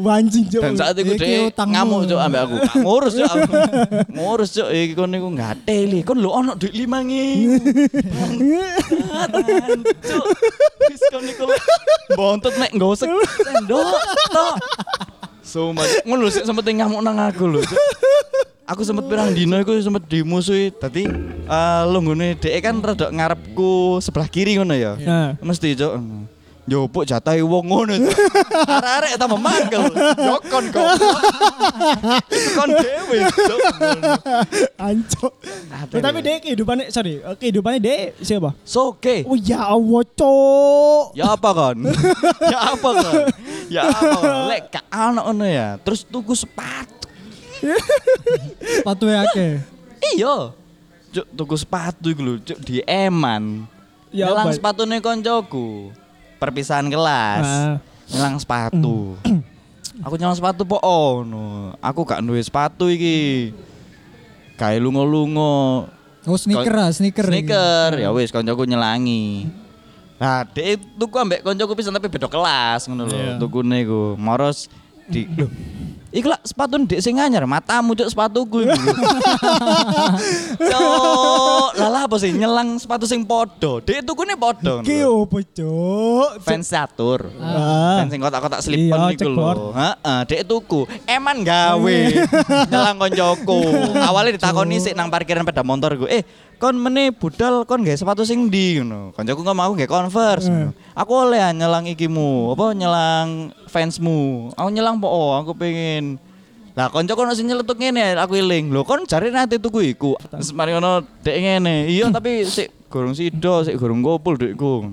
[SPEAKER 1] Wanjing, Cuk.
[SPEAKER 2] Dan saat itu
[SPEAKER 3] Iki
[SPEAKER 2] dhek
[SPEAKER 3] utangmu.
[SPEAKER 2] ngamuk cuk ambek aku. Gak ngurus cuk. aku. Ngurus cuk iki kon niku ngateli. Kon lho ono duit 5000. Cuk. Wis kon niku lek bontot mek nggawa sek- sendok tok. Sumpah, Cuk. ngono lho sik sempet ngamuk nang aku lho. Cuk. Aku sempet pirang dino iku sempet dimusuhi. Dadi eh lunggone dhek kan rada ngarepku sebelah kiri ngono ya.
[SPEAKER 1] Nah.
[SPEAKER 2] Mesti cok. Njopuk jatahi wong ngono. Cuk. Arek-arek tambah mangkel. Jokon kok. Itu Kon dhewe. Cuk.
[SPEAKER 1] Ancok. Tapi
[SPEAKER 2] ya?
[SPEAKER 1] deh kehidupannya, sorry, eh, kehidupannya deh siapa?
[SPEAKER 2] Soge.
[SPEAKER 1] Oh ya Allah, cok.
[SPEAKER 2] Ya apa kon? ya apa kon? Ya apa? Kon? Lek gak ono ngono ya. Terus tuku sepatu.
[SPEAKER 3] Sepatu akeh.
[SPEAKER 2] Iya. Cuk, tuku sepatu iku lho, cuk di Eman.
[SPEAKER 1] Ya apa?
[SPEAKER 2] Nyelang sepatune koncoku. Perpisahan kelas.
[SPEAKER 1] Ah.
[SPEAKER 2] Nyelang sepatu. aku nyelang sepatu po ono. Aku gak duwe sepatu iki. Kae lungo-lungo.
[SPEAKER 3] Oh sneaker ah, sneaker. iki.
[SPEAKER 2] Sneaker. Ya wis koncoku nyelangi. Nah, dek tuku ambek koncoku pisan tapi beda kelas ngono lho.
[SPEAKER 3] Iya.
[SPEAKER 2] Tukune iku. Moros di Loh, Iku lah sepatu ndek sing anyar, matamu cuk sepatuku iku. Cuk, lalah apa sih nyelang sepatu sing padha. Dek tukune padha. ngono
[SPEAKER 1] Ki
[SPEAKER 2] lho.
[SPEAKER 1] opo, cok?
[SPEAKER 2] Fans satur.
[SPEAKER 1] Ah.
[SPEAKER 2] Fans sing kotak-kotak
[SPEAKER 1] Iya,
[SPEAKER 2] slip-on iku
[SPEAKER 1] checkboard.
[SPEAKER 2] lho. Heeh, dek tuku. Eman gawe. Nyelang koncoku. Awalnya ditakoni sik nang parkiran sepeda motor gue. Eh, kon mene budal kon gawe sepatu sing ndi ngono. Koncoku ngomong aku gawe Converse. ngono. Aku oleh ah nyelang ikimu, apa nyelang fansmu. Aku nyelang po oh, aku pengen Lah konco kono sing nyeletuk ngene aku eling. Lho kon jare nanti tuku iku. Hmm. Terus mari ngono dek ngene. Iya tapi sik gorong sido, sik gorong kopul dekku.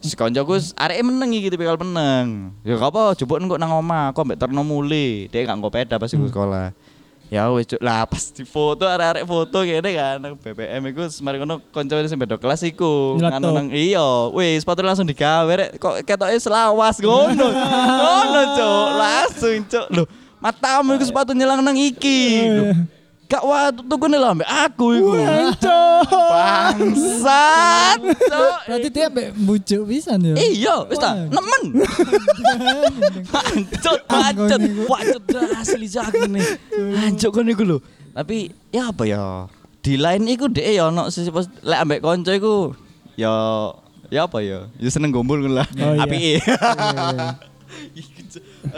[SPEAKER 2] Si koncoku wis areke meneng iki tipikal meneng. Ya gak apa jebuk engko nang omah, aku mbek terno mule. Dek gak engko peda pas iku sekolah. Ya wis Cuk. lah pas difoto arek-arek foto ngene kan nang BBM iku terus mari ngono konco sing beda kelas iku.
[SPEAKER 1] Nyeletuk.
[SPEAKER 2] Nganu nang iya, wis sepatu langsung digawe rek kok ketoke selawas ngono. ngono, Cuk. Langsung, Cuk. Lho, matamu iku sepatu nyelang nang iki. Lho, Gak waktu tuku nih lah ambek aku iku.
[SPEAKER 1] Cok.
[SPEAKER 2] Bangsat. Cuk.
[SPEAKER 3] Berarti dia ambek bujuk pisan ya.
[SPEAKER 2] Iya, wis ta,
[SPEAKER 3] Wah.
[SPEAKER 2] nemen. Ancut, ancut,
[SPEAKER 3] Anggone iku.
[SPEAKER 2] wacut asli jaki nih. Ancut kon iku lho. Tapi ya apa ya? Di lain iku dhek ya ono sisi pos lek ambek kanca iku ya ya apa ya? Ya seneng gombol ngono lah.
[SPEAKER 1] Oh, iya.
[SPEAKER 2] Apike.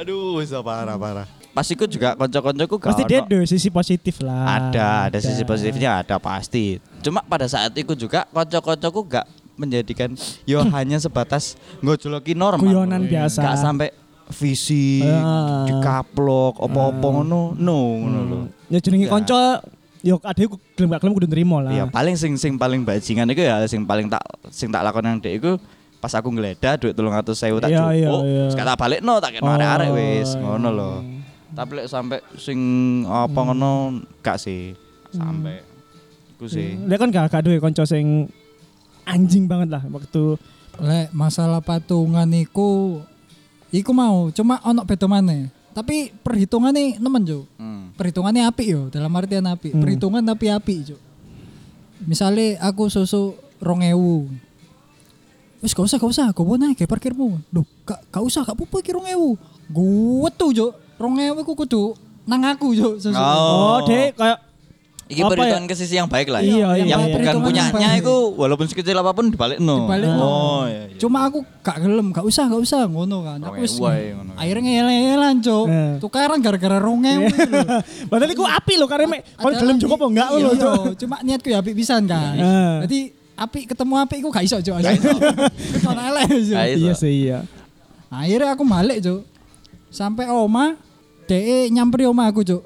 [SPEAKER 2] Aduh, so parah parah. Pas iku juga kanca-kancaku gak
[SPEAKER 1] Pasti
[SPEAKER 2] ono-
[SPEAKER 1] dia ada sisi positif lah.
[SPEAKER 2] ada, ada sisi positifnya ada pasti. Cuma pada saat itu juga kocok-kocokku gak menjadikan yo hanya sebatas ngojoloki normal.
[SPEAKER 1] Hmm. Guyonan biasa.
[SPEAKER 2] Gak sampai visi
[SPEAKER 1] Ah.
[SPEAKER 2] dikaplok apa-apa ngono. No ngono lho.
[SPEAKER 1] Ya jenenge
[SPEAKER 2] Ya.
[SPEAKER 1] kanca ya ada aku gelem gak gelem kudu nerimo lah.
[SPEAKER 2] Ya paling sing sing paling bajingan itu ya sing paling tak sing tak lakon nang dek iku pas aku ngeledah duit 300.000 tak
[SPEAKER 1] Iya,
[SPEAKER 2] cukup.
[SPEAKER 1] iya, iya.
[SPEAKER 2] Terus tak balikno tak kena
[SPEAKER 1] Oh,
[SPEAKER 2] arek-arek wis
[SPEAKER 1] iya. Hmm.
[SPEAKER 2] ngono lho. Tapi lek sampai sing apa ngono gak sih sampai iku sih.
[SPEAKER 1] Dia kan gak gak duwe kanca sing anjing banget lah waktu
[SPEAKER 3] Lek masalah patungan iku iku mau cuma ono beda maneh. Tapi perhitungannya nemen jo.
[SPEAKER 2] Hmm.
[SPEAKER 3] Perhitungannya apik yo, dalam artian apik.
[SPEAKER 1] Hmm.
[SPEAKER 3] Perhitungan tapi apik jo. Misale aku susu 2000. Wis gak usah, gak usah, gue naik ke parkirmu. Duh, gak, gak usah, gak apa-apa iki 2000. Gue tuh jo, 2000 ku kudu nang aku jo susu.
[SPEAKER 2] Ah,
[SPEAKER 1] Oh, dek kayak
[SPEAKER 2] Iki
[SPEAKER 1] Apa ya?
[SPEAKER 2] perhitungan ke sisi yang baik lah ya.
[SPEAKER 1] Iya, iya,
[SPEAKER 2] yang
[SPEAKER 1] iya.
[SPEAKER 2] bukan
[SPEAKER 3] Perhitungan
[SPEAKER 2] punyanya
[SPEAKER 3] yang baik.
[SPEAKER 2] itu walaupun sekecil apapun dibalik no.
[SPEAKER 3] Dibalik no.
[SPEAKER 2] Oh, iya, iya.
[SPEAKER 3] Cuma aku gak gelem, gak usah, gak usah ngono kan. Aku wis
[SPEAKER 2] Rong ewu ae ngono.
[SPEAKER 3] akhirnya ngeyel-ngeyelan, Cuk.
[SPEAKER 1] Eh.
[SPEAKER 3] Tukaran gara-gara rong ewu lho.
[SPEAKER 1] Padahal iku api lho karena mek kon gelem cukup apa enggak
[SPEAKER 3] Iya,
[SPEAKER 1] lho.
[SPEAKER 3] iya. Cuma niatku ya apik pisan kan.
[SPEAKER 1] Eh.
[SPEAKER 3] Jadi apik ketemu apik iku gak iso, Cuk. Gak iso. Iku sono elek, Cuk.
[SPEAKER 2] Gak iso.
[SPEAKER 1] Iya sih iya.
[SPEAKER 3] Akhirnya aku balik, Cuk. Sampai oma, DE nyamperi oma aku, Cuk.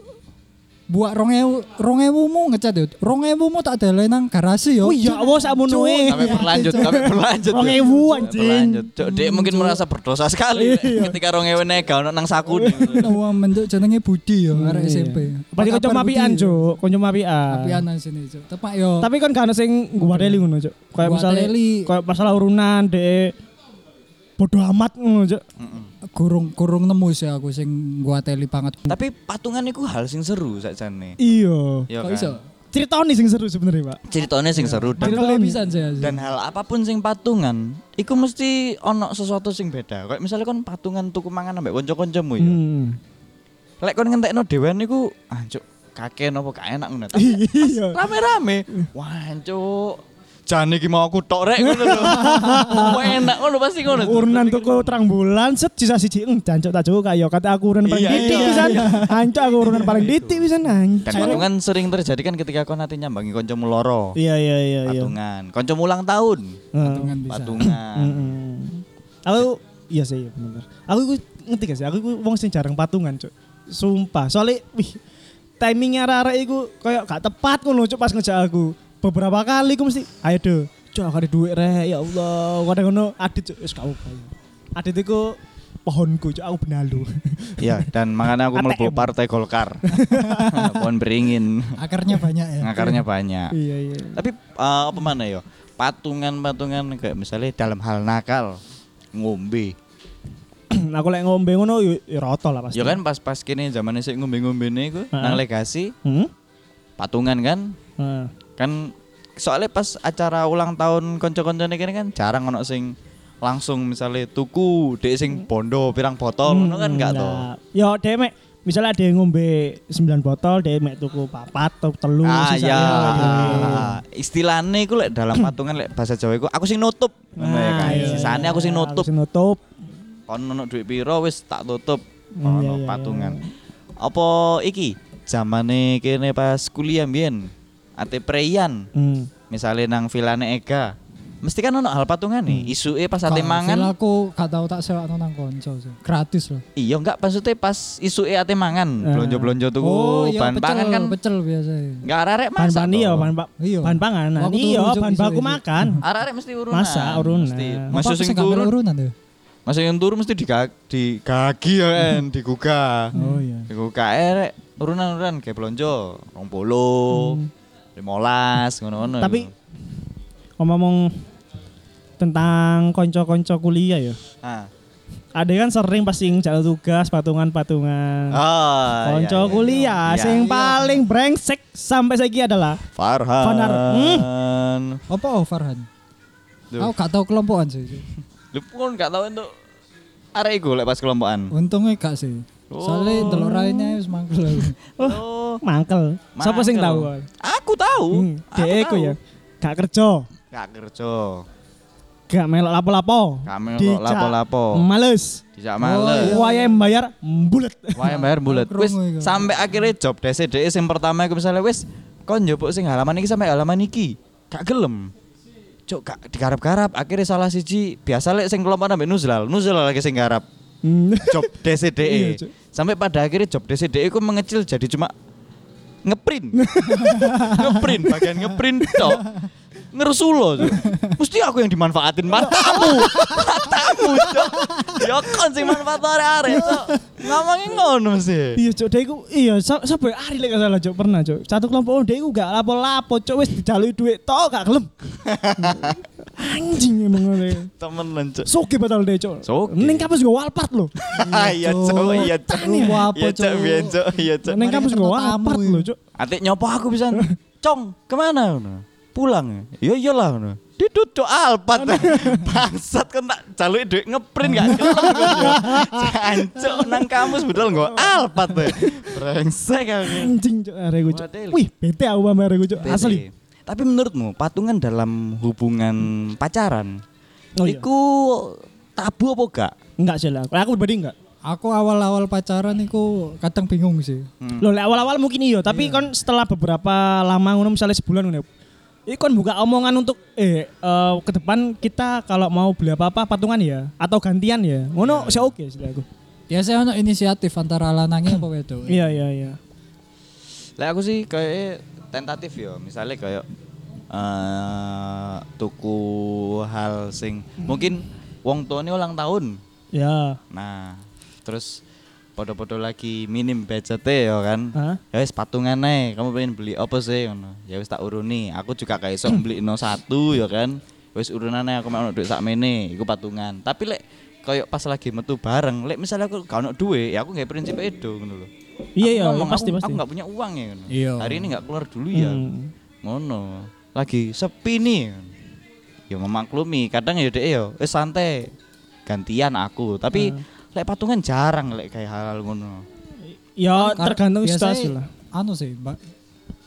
[SPEAKER 3] Buat rong ewu, rong ewumu ngecat, yo. Rong ewumu tak delay nang garasi,
[SPEAKER 1] Oh
[SPEAKER 3] yo.
[SPEAKER 1] iya, awas sakmono
[SPEAKER 3] Cuk.
[SPEAKER 1] e.
[SPEAKER 2] Sampai berlanjut, sampai berlanjut.
[SPEAKER 1] Rong
[SPEAKER 2] Cuk.
[SPEAKER 1] ewu,
[SPEAKER 2] Sampai
[SPEAKER 1] anjing. Iya.
[SPEAKER 2] berlanjut. Cuk, Dek mungkin merasa berdosa sekali ketika rong ewu nega ono nang saku.
[SPEAKER 3] Wong menduk jenenge Budi yo, arek SMP.
[SPEAKER 1] Pasti kanca Iya.
[SPEAKER 3] Kabar
[SPEAKER 1] mapian,
[SPEAKER 3] Budi, yo?
[SPEAKER 1] Cuk. Kanca mapian.
[SPEAKER 3] Apian nang sini, Cuk. Tepak yo.
[SPEAKER 1] Tapi kan gak ono sing guadeli ngono, Cuk. Kayak misalnya
[SPEAKER 3] Guadeli.
[SPEAKER 1] kayak masalah urunan dek bodoh amat ngono, Cuk.
[SPEAKER 3] Gurung gurung nemu sih aku sing gua teli banget.
[SPEAKER 2] Tapi patungan itu hal sing seru sakjane.
[SPEAKER 1] Iya.
[SPEAKER 2] Iya Oh,
[SPEAKER 3] Kok
[SPEAKER 2] kan.
[SPEAKER 3] iso?
[SPEAKER 1] Ceritane sing seru sebenarnya, Pak.
[SPEAKER 2] Ceritanya sing
[SPEAKER 1] Iya.
[SPEAKER 2] seru dan,
[SPEAKER 3] Mangkel pisan sih. asli.
[SPEAKER 2] dan hal apapun sing patungan, iku mesti ono sesuatu sing beda. Kayak misalnya kon patungan tuku mangan ambek kanca-kancamu ya.
[SPEAKER 1] Hmm.
[SPEAKER 2] Lek kon ngentekno dhewean niku anjuk kakek nopo gak enak ngono. Tapi
[SPEAKER 1] Iya.
[SPEAKER 2] rame-rame. Wah, cuk. Jan iki mau aku tok rek ngono lho. Kok enak ngono pasti ngono.
[SPEAKER 1] Urunan tuku terang bulan set sisa siji eng jancuk tak cukup kak yo kata aku urunan paling
[SPEAKER 2] Iya,
[SPEAKER 1] titik
[SPEAKER 2] iya,
[SPEAKER 1] pisan. Hancur aku urunan paling titik pisan
[SPEAKER 2] Dan
[SPEAKER 1] hancur.
[SPEAKER 2] patungan sering terjadi kan ketika kon nanti nyambangi kancamu loro.
[SPEAKER 1] Iya iya iya iya.
[SPEAKER 2] Patungan. Kancamu ulang tahun.
[SPEAKER 1] Heeh.
[SPEAKER 3] Patungan bisa.
[SPEAKER 2] Patungan.
[SPEAKER 1] Mm-mm. Aku iya sih iya bener. Aku iku ngerti gak sih aku iku wong sing jarang patungan cuk. Sumpah. Soalnya wih timingnya arek-arek iku koyo gak tepat ngono cuk pas ngejak aku. Beberapa kali aku mesti ayo do. Cuk aku ada duit rek ya Allah. Kadang ngono adit cuk wis gak apa Adit iku pohonku cuk aku benalu.
[SPEAKER 2] Iya, dan makanya aku mlebu
[SPEAKER 1] ATM.
[SPEAKER 2] partai Golkar. Pohon beringin.
[SPEAKER 3] Akarnya banyak ya.
[SPEAKER 2] Akarnya banyak.
[SPEAKER 1] iya iya.
[SPEAKER 2] Tapi eh, apa mana ya? Patungan-patungan kayak misalnya dalam hal nakal ngombe.
[SPEAKER 1] aku lek ngombe ngono yo yo roto lah pasti.
[SPEAKER 2] Ya kan pas-pas kini zaman sik ngombe-ngombe iku
[SPEAKER 1] Heeh.
[SPEAKER 2] nang legasi
[SPEAKER 1] Hmm? Nah.
[SPEAKER 2] patungan kan.
[SPEAKER 1] Heeh.
[SPEAKER 2] Kan soalnya pas acara ulang tahun kanca-kancane kene kan jarang ono sing langsung misalnya tuku dek
[SPEAKER 1] Hmm.
[SPEAKER 2] sing bondo pirang botol ngono kan enggak to.
[SPEAKER 1] Nah, Yo dhewe mek misalnya ada yang ngombe 9 botol, dhewe mek tuku papat atau telu
[SPEAKER 2] Ah
[SPEAKER 1] sisanya
[SPEAKER 2] ya,
[SPEAKER 1] awake dhewe.
[SPEAKER 2] istilahnya iku lek dalam patungan lek bahasa Jawa iku aku sing nutup. Ngono ya kan.
[SPEAKER 1] iya,
[SPEAKER 2] Sisane
[SPEAKER 1] iya,
[SPEAKER 2] aku sing
[SPEAKER 1] iya,
[SPEAKER 2] nutup.
[SPEAKER 1] Aku sing nutup.
[SPEAKER 2] kon ono duit piro wis tak tutup
[SPEAKER 1] Hmm,
[SPEAKER 2] ono
[SPEAKER 1] iya, iya,
[SPEAKER 2] patungan apa iki zamane kene pas kuliah mbiyen ate preyan
[SPEAKER 1] Hmm.
[SPEAKER 2] misale nang vilane Ega mesti kan ono hal patungan nih
[SPEAKER 1] Hmm.
[SPEAKER 2] isuke pas ate
[SPEAKER 3] Kalau sel
[SPEAKER 2] mangan
[SPEAKER 3] aku gak tau tak sewa nang konco sih. Gratis loh.
[SPEAKER 2] iya enggak maksudnya pas isuke ate mangan
[SPEAKER 1] Eh. Oh, iya,
[SPEAKER 2] blonjo-blonjo tuh bahan pangan kan
[SPEAKER 3] Oh, iya, pecel biasa.
[SPEAKER 2] enggak arek
[SPEAKER 1] Bahan
[SPEAKER 2] masak
[SPEAKER 1] bahan
[SPEAKER 2] toh.
[SPEAKER 1] iya, bahan ba-
[SPEAKER 3] Iya.
[SPEAKER 1] bahan panganan.
[SPEAKER 3] Aku tuh
[SPEAKER 1] Iya,
[SPEAKER 3] rujuk
[SPEAKER 1] bahan
[SPEAKER 3] iso
[SPEAKER 1] baku
[SPEAKER 3] itu.
[SPEAKER 1] makan.
[SPEAKER 2] arek mesti urunan
[SPEAKER 1] Masak, urunan.
[SPEAKER 2] mesti
[SPEAKER 1] Apa
[SPEAKER 2] masuk sing turun
[SPEAKER 3] urunan ya? tuh.
[SPEAKER 2] masuk sing turun mesti digag digagi ya kan digugah
[SPEAKER 3] Oh iya.
[SPEAKER 2] Iku kae rek urunan-urunan kayak blonjo 20, 15
[SPEAKER 1] Hmm.
[SPEAKER 2] ngono-ngono.
[SPEAKER 1] Tapi ngomong tentang konco-konco kuliah ya.
[SPEAKER 2] ah,
[SPEAKER 1] Ada kan sering pasti jalan tugas, patungan-patungan.
[SPEAKER 2] Ah,
[SPEAKER 1] Hmm. Konco
[SPEAKER 2] iya, iya.
[SPEAKER 1] kuliah,
[SPEAKER 2] Iya.
[SPEAKER 1] sing paling brengsek sampai saiki adalah
[SPEAKER 2] Farhan.
[SPEAKER 1] Farhan. Hmm.
[SPEAKER 3] Apa oh Farhan?
[SPEAKER 2] Duh.
[SPEAKER 3] Aku gak tau kelompokan sih.
[SPEAKER 2] Lu pun gak tahu untuk arek iku lek pas kelompokan.
[SPEAKER 3] Untungnya gak sih. Soalnya telur rainnya wis mangkel. aku.
[SPEAKER 2] Oh.
[SPEAKER 1] mangkel. Siapa sing
[SPEAKER 2] Mangkel.
[SPEAKER 1] tahu?
[SPEAKER 2] Aku tahu.
[SPEAKER 1] Hmm,
[SPEAKER 2] Aku
[SPEAKER 1] Dek iku
[SPEAKER 2] tahu.
[SPEAKER 1] ya. Gak kerja,
[SPEAKER 2] Gak kerja.
[SPEAKER 1] gak melok lapo-lapo.
[SPEAKER 2] Gak melok
[SPEAKER 1] Dijak
[SPEAKER 2] lapo-lapo.
[SPEAKER 1] Males. Oh,
[SPEAKER 2] Dijak males.
[SPEAKER 3] iya.
[SPEAKER 1] Wayahe mbayar bulet.
[SPEAKER 2] Wah, bayar bulat.
[SPEAKER 3] Aku
[SPEAKER 2] Wis
[SPEAKER 3] krungu iku.
[SPEAKER 2] sampai akhirnya job dese dhek sing pertama iku misalnya wis kon njupuk sing halaman iki sampai halaman iki. Gak gelem. Cuk, gak digarap-garap. Akhirnya salah siji biasa lek sing kelompokan ambek Nuzlal. Nuzlal lagi sing garap.
[SPEAKER 1] Hmm.
[SPEAKER 2] job
[SPEAKER 1] Iya,
[SPEAKER 2] DCDE
[SPEAKER 1] Cuk.
[SPEAKER 2] sampai pada akhirnya job DCDE ku mengecil jadi cuma ngeprint ngeprint bagian ngeprint tok ngerusulo Cuk. mesti aku yang dimanfaatin matamu matamu Cuk. ya kon sing manfaat arek arek Cuk. ngomongin ngono mesti
[SPEAKER 1] Iya cok, dia iku iya sa- sampe hari lek gak salah cok pernah cok. Satu kelompok oh dia iku gak lapo-lapo cok wis dijalui duit tok gak gelem. Anjing emang ngene.
[SPEAKER 2] temen lencuk
[SPEAKER 1] Soke batal dia cok.
[SPEAKER 2] Soge.
[SPEAKER 1] Ning kampus gue Walmart lho.
[SPEAKER 2] iya Cuk, iya Cuk.
[SPEAKER 3] Lu apa,
[SPEAKER 2] iya Cuk,
[SPEAKER 3] Cuk?
[SPEAKER 2] iya Cuk, iya Cuk.
[SPEAKER 1] Ning kampus gue
[SPEAKER 3] ketemu tamu
[SPEAKER 1] Walmart
[SPEAKER 3] ya.
[SPEAKER 1] lho cok.
[SPEAKER 2] Atik nyopo aku bisa. Cong, kemana? ngono? Pulang. Ya iyalah ngono. Didut cok alpat. Bangsat kan tak jaluki duit ngeprint gak kelem. Jancuk nang kampus betul nggo alpat. we. Brengsek aku.
[SPEAKER 1] Anjing cok arek gue cok.
[SPEAKER 2] Waduh.
[SPEAKER 1] Wih, bete aku sama arek gue cok. Asli.
[SPEAKER 2] Tapi menurutmu patungan dalam hubungan pacaran
[SPEAKER 1] Oh iya.
[SPEAKER 2] iku tabu apa gak?
[SPEAKER 1] Enggak sih lah. Kalau Aku pribadi enggak.
[SPEAKER 3] Aku awal-awal pacaran iku kadang bingung sih.
[SPEAKER 1] Loh, lek awal-awal mungkin iya, tapi kon setelah beberapa lama ngono misalnya sebulan ngono. ya. Ini kon buka omongan untuk eh eh, ke depan kita kalau mau beli apa-apa patungan ya atau gantian ya. Ngono sih oke sih aku.
[SPEAKER 3] Biasanya ono inisiatif antara lanangnya apa wedok.
[SPEAKER 1] Iya iya iya.
[SPEAKER 2] Lah aku sih kayak tentatif ya, misalnya kayak eh tuku hal sing mungkin wong tuane ulang tahun.
[SPEAKER 1] Ya.
[SPEAKER 2] Nah, terus podo-podo lagi minim budgete ya kan.
[SPEAKER 1] Hah?
[SPEAKER 2] Ya wis patungan ae, kamu pengen beli apa sih ngono. Ya wis tak uruni. Aku juga gak iso beli no satu ya kan. Wis urunane aku mau duit sakmene, iku patungan. Tapi lek kayak pas lagi metu bareng, lek misalnya aku gak ono duit, ya aku gak prinsip edo ngono lho.
[SPEAKER 1] Iya
[SPEAKER 2] Aku
[SPEAKER 1] iya
[SPEAKER 2] ngomong,
[SPEAKER 1] pasti
[SPEAKER 2] aku,
[SPEAKER 1] pasti.
[SPEAKER 2] Aku gak punya uang ya ngono.
[SPEAKER 3] Iya.
[SPEAKER 2] Hari ini gak keluar dulu ya.
[SPEAKER 1] Hmm.
[SPEAKER 2] Ngono. Lagi sepi nih. Ya memaklumi, kadang ya deh ya, eh santai. Gantian aku, tapi
[SPEAKER 1] Hmm.
[SPEAKER 2] lek patungan jarang lek kayak hal-hal ngono.
[SPEAKER 1] Ya
[SPEAKER 3] Kar-
[SPEAKER 1] tergantung
[SPEAKER 3] biasanya
[SPEAKER 1] situasi lah.
[SPEAKER 3] Anu sih, Mbak.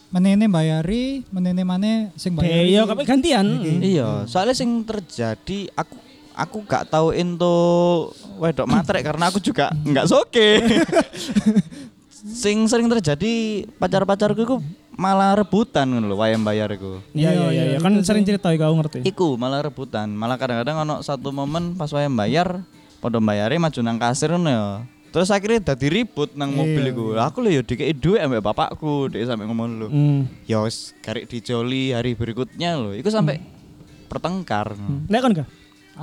[SPEAKER 3] Menene bayari, menene mana
[SPEAKER 1] Eh,
[SPEAKER 3] sing bayari.
[SPEAKER 1] Iya, kami gantian.
[SPEAKER 2] Iya, soalnya sing terjadi aku aku gak tahu into wedok matrek karena aku juga nggak soke. sing sering terjadi pacar-pacarku iku malah rebutan ngono lho wayang bayar iku.
[SPEAKER 1] Iya iya iya, iya. kan sering cerita kau ngerti.
[SPEAKER 2] Iku malah rebutan, malah kadang-kadang ono satu momen pas wayang bayar, podo bayare maju nang kasir ngono ya. Terus akhirnya dadi ribut nang mobil iku. Aku lho ya dikei dhuwit ambek bapakku, dhek sampe ngomong lho.
[SPEAKER 1] Hmm.
[SPEAKER 2] Ya wis karek dijoli hari berikutnya lho. Iku sampai pertengkar.
[SPEAKER 1] Lek kon gak?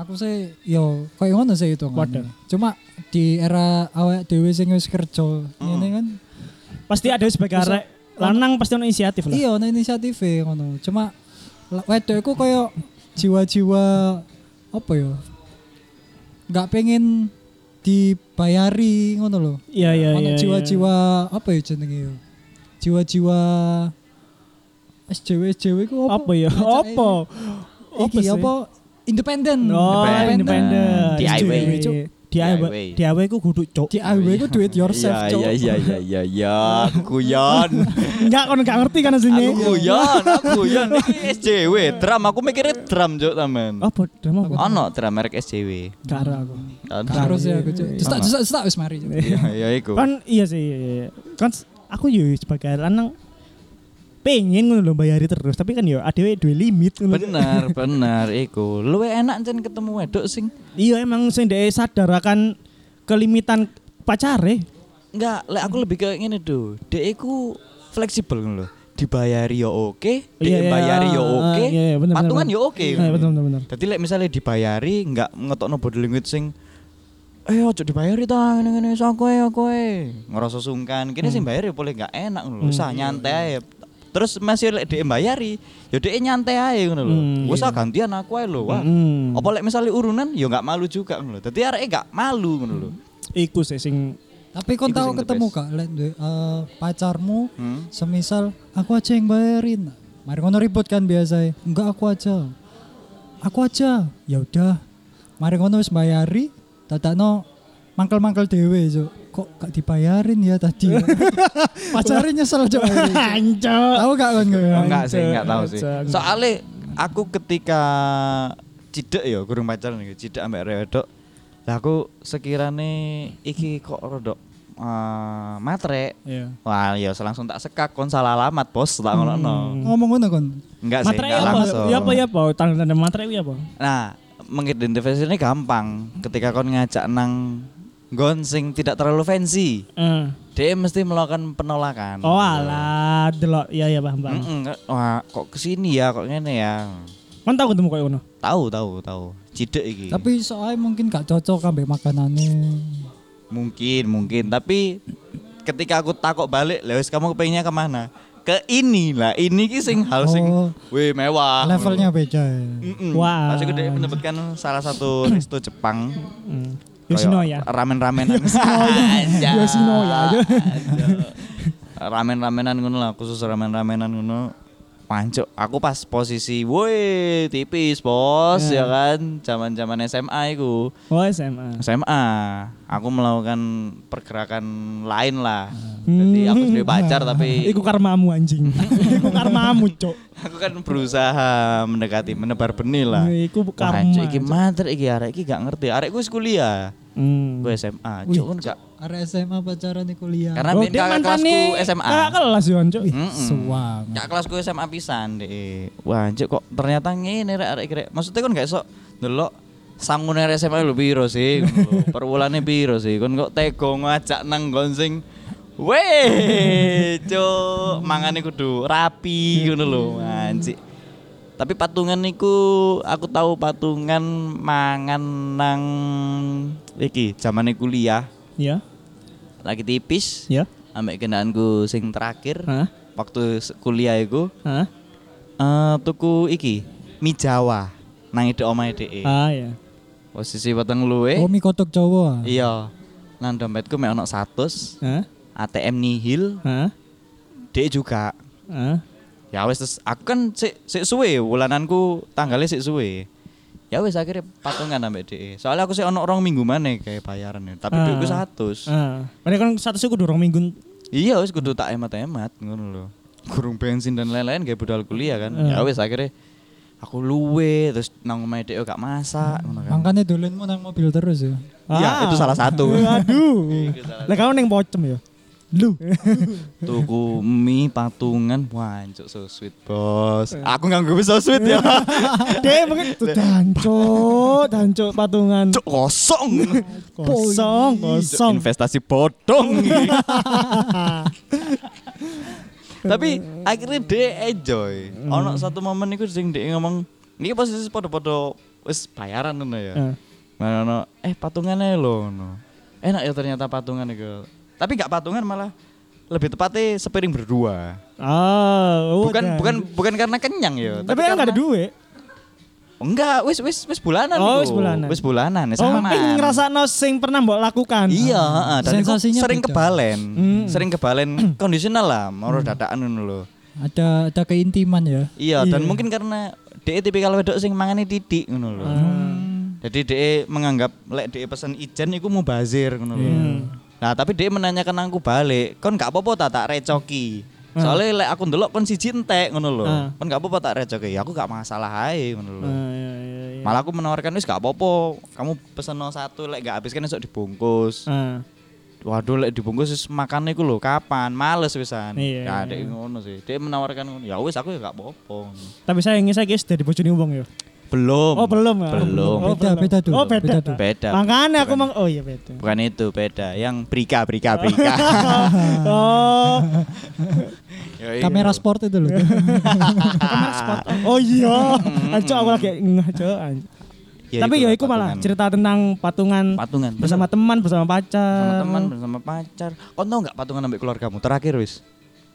[SPEAKER 3] Aku sih yo koyo ngono sih itu.
[SPEAKER 1] Waduh.
[SPEAKER 3] Cuma di era awak dhewe sing wis kerja ngene kan.
[SPEAKER 1] Pasti ada sebagai arek lanang pasti ono inisiatif lah.
[SPEAKER 3] Iya, ono inisiatif ngono. Cuma la- wedok iku koyo jiwa-jiwa apa ya? Enggak pengen dibayari ngono loh.
[SPEAKER 1] Iya iya iya.
[SPEAKER 3] Ono jiwa-jiwa apa ya jenenge yo? Jiwa-jiwa SJW SJW ku apa?
[SPEAKER 1] apa ya?
[SPEAKER 3] Bacaan
[SPEAKER 1] Apa?
[SPEAKER 3] Iki
[SPEAKER 1] sih?
[SPEAKER 3] apa? Independen.
[SPEAKER 1] Oh,
[SPEAKER 2] Independen.
[SPEAKER 1] independen.
[SPEAKER 2] DIY.
[SPEAKER 1] DIY. DIY ku kudu cok.
[SPEAKER 3] DIY ku do it yourself,
[SPEAKER 2] Iya
[SPEAKER 3] Cok.
[SPEAKER 2] iya iya iya iya iya aku kuyon.
[SPEAKER 1] Enggak kon gak ngerti kan
[SPEAKER 2] Aku
[SPEAKER 1] aslinya.
[SPEAKER 2] kuyon, aku kuyon Ini SJW drum aku mikirnya drum juk tamen.
[SPEAKER 1] Apa drama apa?
[SPEAKER 2] Ono drum merek SJW.
[SPEAKER 1] Gak ada aku.
[SPEAKER 2] Ono.
[SPEAKER 3] Gak harus ya aku, Cok. Cetak
[SPEAKER 2] Sama.
[SPEAKER 3] cetak cetak wis mari. Cok.
[SPEAKER 2] Iya iya iku.
[SPEAKER 1] Kan iya sih iya, iya. Kan s- aku yo sebagai lanang pengen ngono lho bayari terus tapi kan yo adewe duwe limit ngono.
[SPEAKER 2] Bener bener iku. Luwe enak jen ketemu wedok sing
[SPEAKER 1] Iya emang sing dhek sadar akan kelimitan pacare.
[SPEAKER 2] enggak lek aku lebih kayak ngene do. Dek iku fleksibel ngono lho. Dibayari yo oke,
[SPEAKER 1] Iya, iya,
[SPEAKER 2] dibayari yo
[SPEAKER 1] ah,
[SPEAKER 2] oke,
[SPEAKER 1] iya, iya, bener,
[SPEAKER 2] patungan
[SPEAKER 1] bener.
[SPEAKER 2] yo oke.
[SPEAKER 1] Iya betul betul bener.
[SPEAKER 2] Jadi lek misalnya dibayari nggak ngetokno body language sing eh ojo dibayari ta ngene ngene
[SPEAKER 1] Hmm.
[SPEAKER 2] iso kowe kowe ngerasa sungkan kene sing bayar ya boleh nggak enak lho usah ah, nyantai ae. Terus masih lek dhek mbayari, ya dhek nyantai ae ngono lho.
[SPEAKER 1] Hmm,
[SPEAKER 2] Wes ah, gantian aku ae lho. Wah.
[SPEAKER 1] Hmm.
[SPEAKER 2] Apa lek misalnya urunan ya nggak malu juga ngono lho. Dadi areke nggak malu ngono lho.
[SPEAKER 1] Iku sih sing
[SPEAKER 3] Tapi kon
[SPEAKER 2] Iku
[SPEAKER 3] tahu
[SPEAKER 2] sing the
[SPEAKER 3] ketemu
[SPEAKER 2] best.
[SPEAKER 3] gak lek duwe, eh, pacarmu
[SPEAKER 2] Hmm.
[SPEAKER 3] semisal aku aja yang bayarin. Mari ngono ribut kan biasa. Enggak aku aja. Aku aja. Ya udah. Mari ngono wis bayari, dadakno mangkel-mangkel dhewe, Cuk. Kok gak dibayarin ya tadi? Pacarnya nyesel, Cuk.
[SPEAKER 1] Anco.
[SPEAKER 3] tahu gak kon kowe?
[SPEAKER 2] Oh, enggak sih, enggak tahu sih.
[SPEAKER 1] Jangan.
[SPEAKER 2] Soalnya aku ketika cidek ya, kurang pacaran ya, cidek ambek rewedok. Lah aku sekirane iki kok rodok eh, matre.
[SPEAKER 1] Iya.
[SPEAKER 2] Wah, ya langsung tak sekak kon salah alamat, Bos. Tak ngono.
[SPEAKER 3] Ngomong ngono kon.
[SPEAKER 2] Enggak sih,
[SPEAKER 1] Materai
[SPEAKER 2] enggak
[SPEAKER 1] apa?
[SPEAKER 2] langsung.
[SPEAKER 1] Ya apa ya apa? Tanda-tanda materai ya apa?
[SPEAKER 2] Nah, mengidentifikasi ini gampang. Ketika kon ngajak nang gonsing tidak terlalu fancy,
[SPEAKER 1] Eh.
[SPEAKER 2] dia mesti melakukan penolakan.
[SPEAKER 1] Oh alah, delok. Iya ya paham paham.
[SPEAKER 2] Mm-mm, Wah, kok kesini ya, kok ngene ya.
[SPEAKER 1] Kan tau ketemu koyo ngono.
[SPEAKER 2] Tahu, tahu, tahu. Cidek iki.
[SPEAKER 3] Tapi soalnya mungkin gak cocok ambek makanannya.
[SPEAKER 2] Mungkin, mungkin. Tapi ketika aku takok balik, Lewis kamu kepengennya kemana? Ke ini lah, ini ki sing hal sing,
[SPEAKER 3] Oh.
[SPEAKER 2] weh mewah.
[SPEAKER 3] Levelnya beda. ya.
[SPEAKER 2] Mm-mm.
[SPEAKER 1] Wah.
[SPEAKER 2] Maksudku dia mendapatkan salah satu resto Jepang.
[SPEAKER 1] Hmm. Yoshino ya.
[SPEAKER 2] Ramen-ramenan. Aja.
[SPEAKER 1] Yoshinoya.
[SPEAKER 2] Aja. Ramen-ramenan ngono lah, khusus ramen-ramenan ngono. Pancok, aku pas posisi, woi tipis bos,
[SPEAKER 1] Iya.
[SPEAKER 2] ya kan, zaman-zaman SMA itu.
[SPEAKER 1] Oh SMA.
[SPEAKER 2] SMA aku melakukan pergerakan lain lah jadi aku
[SPEAKER 1] Hmm.
[SPEAKER 2] sudah pacar tapi
[SPEAKER 1] Iku karmamu anjing.
[SPEAKER 2] Hmm.
[SPEAKER 1] Iku karmamu, Cok.
[SPEAKER 2] aku kan berusaha mendekati menebar benih lah
[SPEAKER 1] Iku Iya,
[SPEAKER 2] Wah,
[SPEAKER 1] karma.
[SPEAKER 2] cuk, iki mater iki arek iki gak ngerti arek gue kuliah
[SPEAKER 1] Hmm.
[SPEAKER 2] gue SMA
[SPEAKER 3] Wih,
[SPEAKER 2] cuk kan gak
[SPEAKER 3] Arek SMA pacaran di kuliah.
[SPEAKER 2] karena
[SPEAKER 1] Oh,
[SPEAKER 2] ben
[SPEAKER 1] dia
[SPEAKER 2] kakak kelasku
[SPEAKER 1] mantane
[SPEAKER 2] SMA
[SPEAKER 1] Kakak kelas yo, Cok.
[SPEAKER 2] Mm-mm.
[SPEAKER 3] Suang.
[SPEAKER 2] Kak kelasku SMA pisan deh. Wah, anjir kok ternyata ngene rek arek rek. Maksudnya kan gak sok delok sanggune rek SMA lu piro sih? ngono lho. Perwulane piro sih? Kon kok tega ngajak nang gonsing. Weh, cuk, mangane kudu rapi ngono lho, anjir. Tapi patungan niku aku tahu patungan mangan nang iki zamane kuliah
[SPEAKER 1] Ya.
[SPEAKER 2] lagi tipis.
[SPEAKER 1] Ya.
[SPEAKER 2] Ambek kendaanku sing terakhir
[SPEAKER 1] Hah?
[SPEAKER 2] waktu se- kuliah iku
[SPEAKER 1] Hah?
[SPEAKER 2] Eh, tuku iki mie Jawa nang ide omahe dhek.
[SPEAKER 1] Ah ya.
[SPEAKER 2] Posisi weteng luwe.
[SPEAKER 3] Oh, mie kotok Jawa. ah.
[SPEAKER 2] Iya. Nang dompetku mek ono 100,
[SPEAKER 1] Hah?
[SPEAKER 2] ATM nihil,
[SPEAKER 1] Hah?
[SPEAKER 2] dhek juga.
[SPEAKER 1] Hah?
[SPEAKER 2] Ya wis terus aku kan sik sik suwe wulananku tanggalnya sik suwe. Ya wis akhirnya patungan ambek dhek. Soalnya aku sik ono rong minggu maneh kayak bayaran tapi
[SPEAKER 1] Ah.
[SPEAKER 2] dhuwitku 100.
[SPEAKER 1] Ah. Padahal kan satu suku dorong minggu.
[SPEAKER 2] Iya wis kudu tak hemat-hemat ngono lho. Kurung bensin dan lain-lain kayak budal kuliah kan. Ya wis akhirnya aku luwe terus nang omahe dhek gak masak ngono kan.
[SPEAKER 3] Makanya dolenmu nang mobil terus ya.
[SPEAKER 1] Ah.
[SPEAKER 2] Ya, itu salah satu. Iya,
[SPEAKER 1] Aduh. Lah kamu neng pocem ya.
[SPEAKER 3] Lu.
[SPEAKER 2] Tuku mie patungan, wah, cuk, so sweet bos. Aku nganggo so sweet ya.
[SPEAKER 1] Deh mungkin tuh dancuk, dancuk patungan.
[SPEAKER 2] Cuk kosong.
[SPEAKER 1] Kosong,
[SPEAKER 2] Cuk,
[SPEAKER 1] kosong.
[SPEAKER 2] investasi bodong. Tapi akhirnya dia enjoy. Ono satu momen iku sing dia ngomong, ini posisi podo-podo wis bayaran ngono ya.
[SPEAKER 1] Eh.
[SPEAKER 2] Mana ono, eh patungannya lho ngono. Enak ya ternyata patungan iku. Tapi gak patungan malah lebih tepatnya sepiring berdua.
[SPEAKER 1] Ah, oh,
[SPEAKER 2] bukan
[SPEAKER 1] udah.
[SPEAKER 2] bukan bukan karena kenyang ya
[SPEAKER 1] Tapi kan nggak ada duit.
[SPEAKER 2] enggak wis wis wis bulanan
[SPEAKER 1] Oh,
[SPEAKER 2] iku.
[SPEAKER 1] wis bulanan.
[SPEAKER 2] wis bulanan ya
[SPEAKER 1] Oh,
[SPEAKER 2] sama
[SPEAKER 1] pengen ngerasa sing pernah mbok lakukan.
[SPEAKER 2] iya heeh, dan iku
[SPEAKER 3] Sensasinya
[SPEAKER 2] sering
[SPEAKER 3] beda.
[SPEAKER 2] kebalen
[SPEAKER 1] Hmm.
[SPEAKER 2] sering kebalen kondisional lah mau dadaan ngono lho
[SPEAKER 3] Ada ada keintiman ya.
[SPEAKER 2] iya dan mungkin karena DE tipikal wedok sing mangane titik ngono lho
[SPEAKER 1] Ah.
[SPEAKER 2] jadi DE menganggap lek DE pesen ijen iku mubazir ngono lho
[SPEAKER 1] Iya.
[SPEAKER 2] nah tapi DE menanyakan aku balik kon gak apa-apa ta tak recoki soalnya lek aku ndelok kon siji entek ngono lho
[SPEAKER 1] Ah.
[SPEAKER 2] kon gak apa-apa tak recoki Ya aku gak masalah ae ngono lho
[SPEAKER 1] Ah, iya, iya, iya.
[SPEAKER 2] Malah aku menawarkan wis gak apa-apa, kamu pesen no satu lek gak habis kan esok dibungkus.
[SPEAKER 1] Ah,
[SPEAKER 2] Waduh lek dibungkus wis makan iku lho kapan? Males wisan.
[SPEAKER 1] Iya,
[SPEAKER 2] Ya
[SPEAKER 1] iya.
[SPEAKER 2] dek ngono sih. Dek menawarkan ngono. Ya wis aku ya gak apa-apa.
[SPEAKER 1] Tapi saya ingin saya guys dari bojone wong ya.
[SPEAKER 2] Belum.
[SPEAKER 1] Oh, belum ya?
[SPEAKER 2] Belum.
[SPEAKER 1] Oh,
[SPEAKER 3] Beda,
[SPEAKER 1] belum.
[SPEAKER 3] beda dulu.
[SPEAKER 1] Oh, beda.
[SPEAKER 3] Beda
[SPEAKER 1] dulu.
[SPEAKER 3] dulu.
[SPEAKER 2] Beda.
[SPEAKER 1] Makanya aku mang oh iya beda.
[SPEAKER 2] Bukan itu, beda. Yang brika brika brika.
[SPEAKER 1] oh,
[SPEAKER 2] Ya, iya.
[SPEAKER 3] Kamera sport itu loh.
[SPEAKER 1] oh iya. Anco aku lagi ngaco. anco.
[SPEAKER 2] Ya,
[SPEAKER 1] Tapi ya
[SPEAKER 2] itulah
[SPEAKER 1] itu malah
[SPEAKER 2] patungan.
[SPEAKER 1] cerita tentang patungan
[SPEAKER 2] patungan
[SPEAKER 1] bersama teman, bersama pacar.
[SPEAKER 2] bersama teman, bersama pacar. Kau tau gak patungan ambil keluargamu terakhir wis?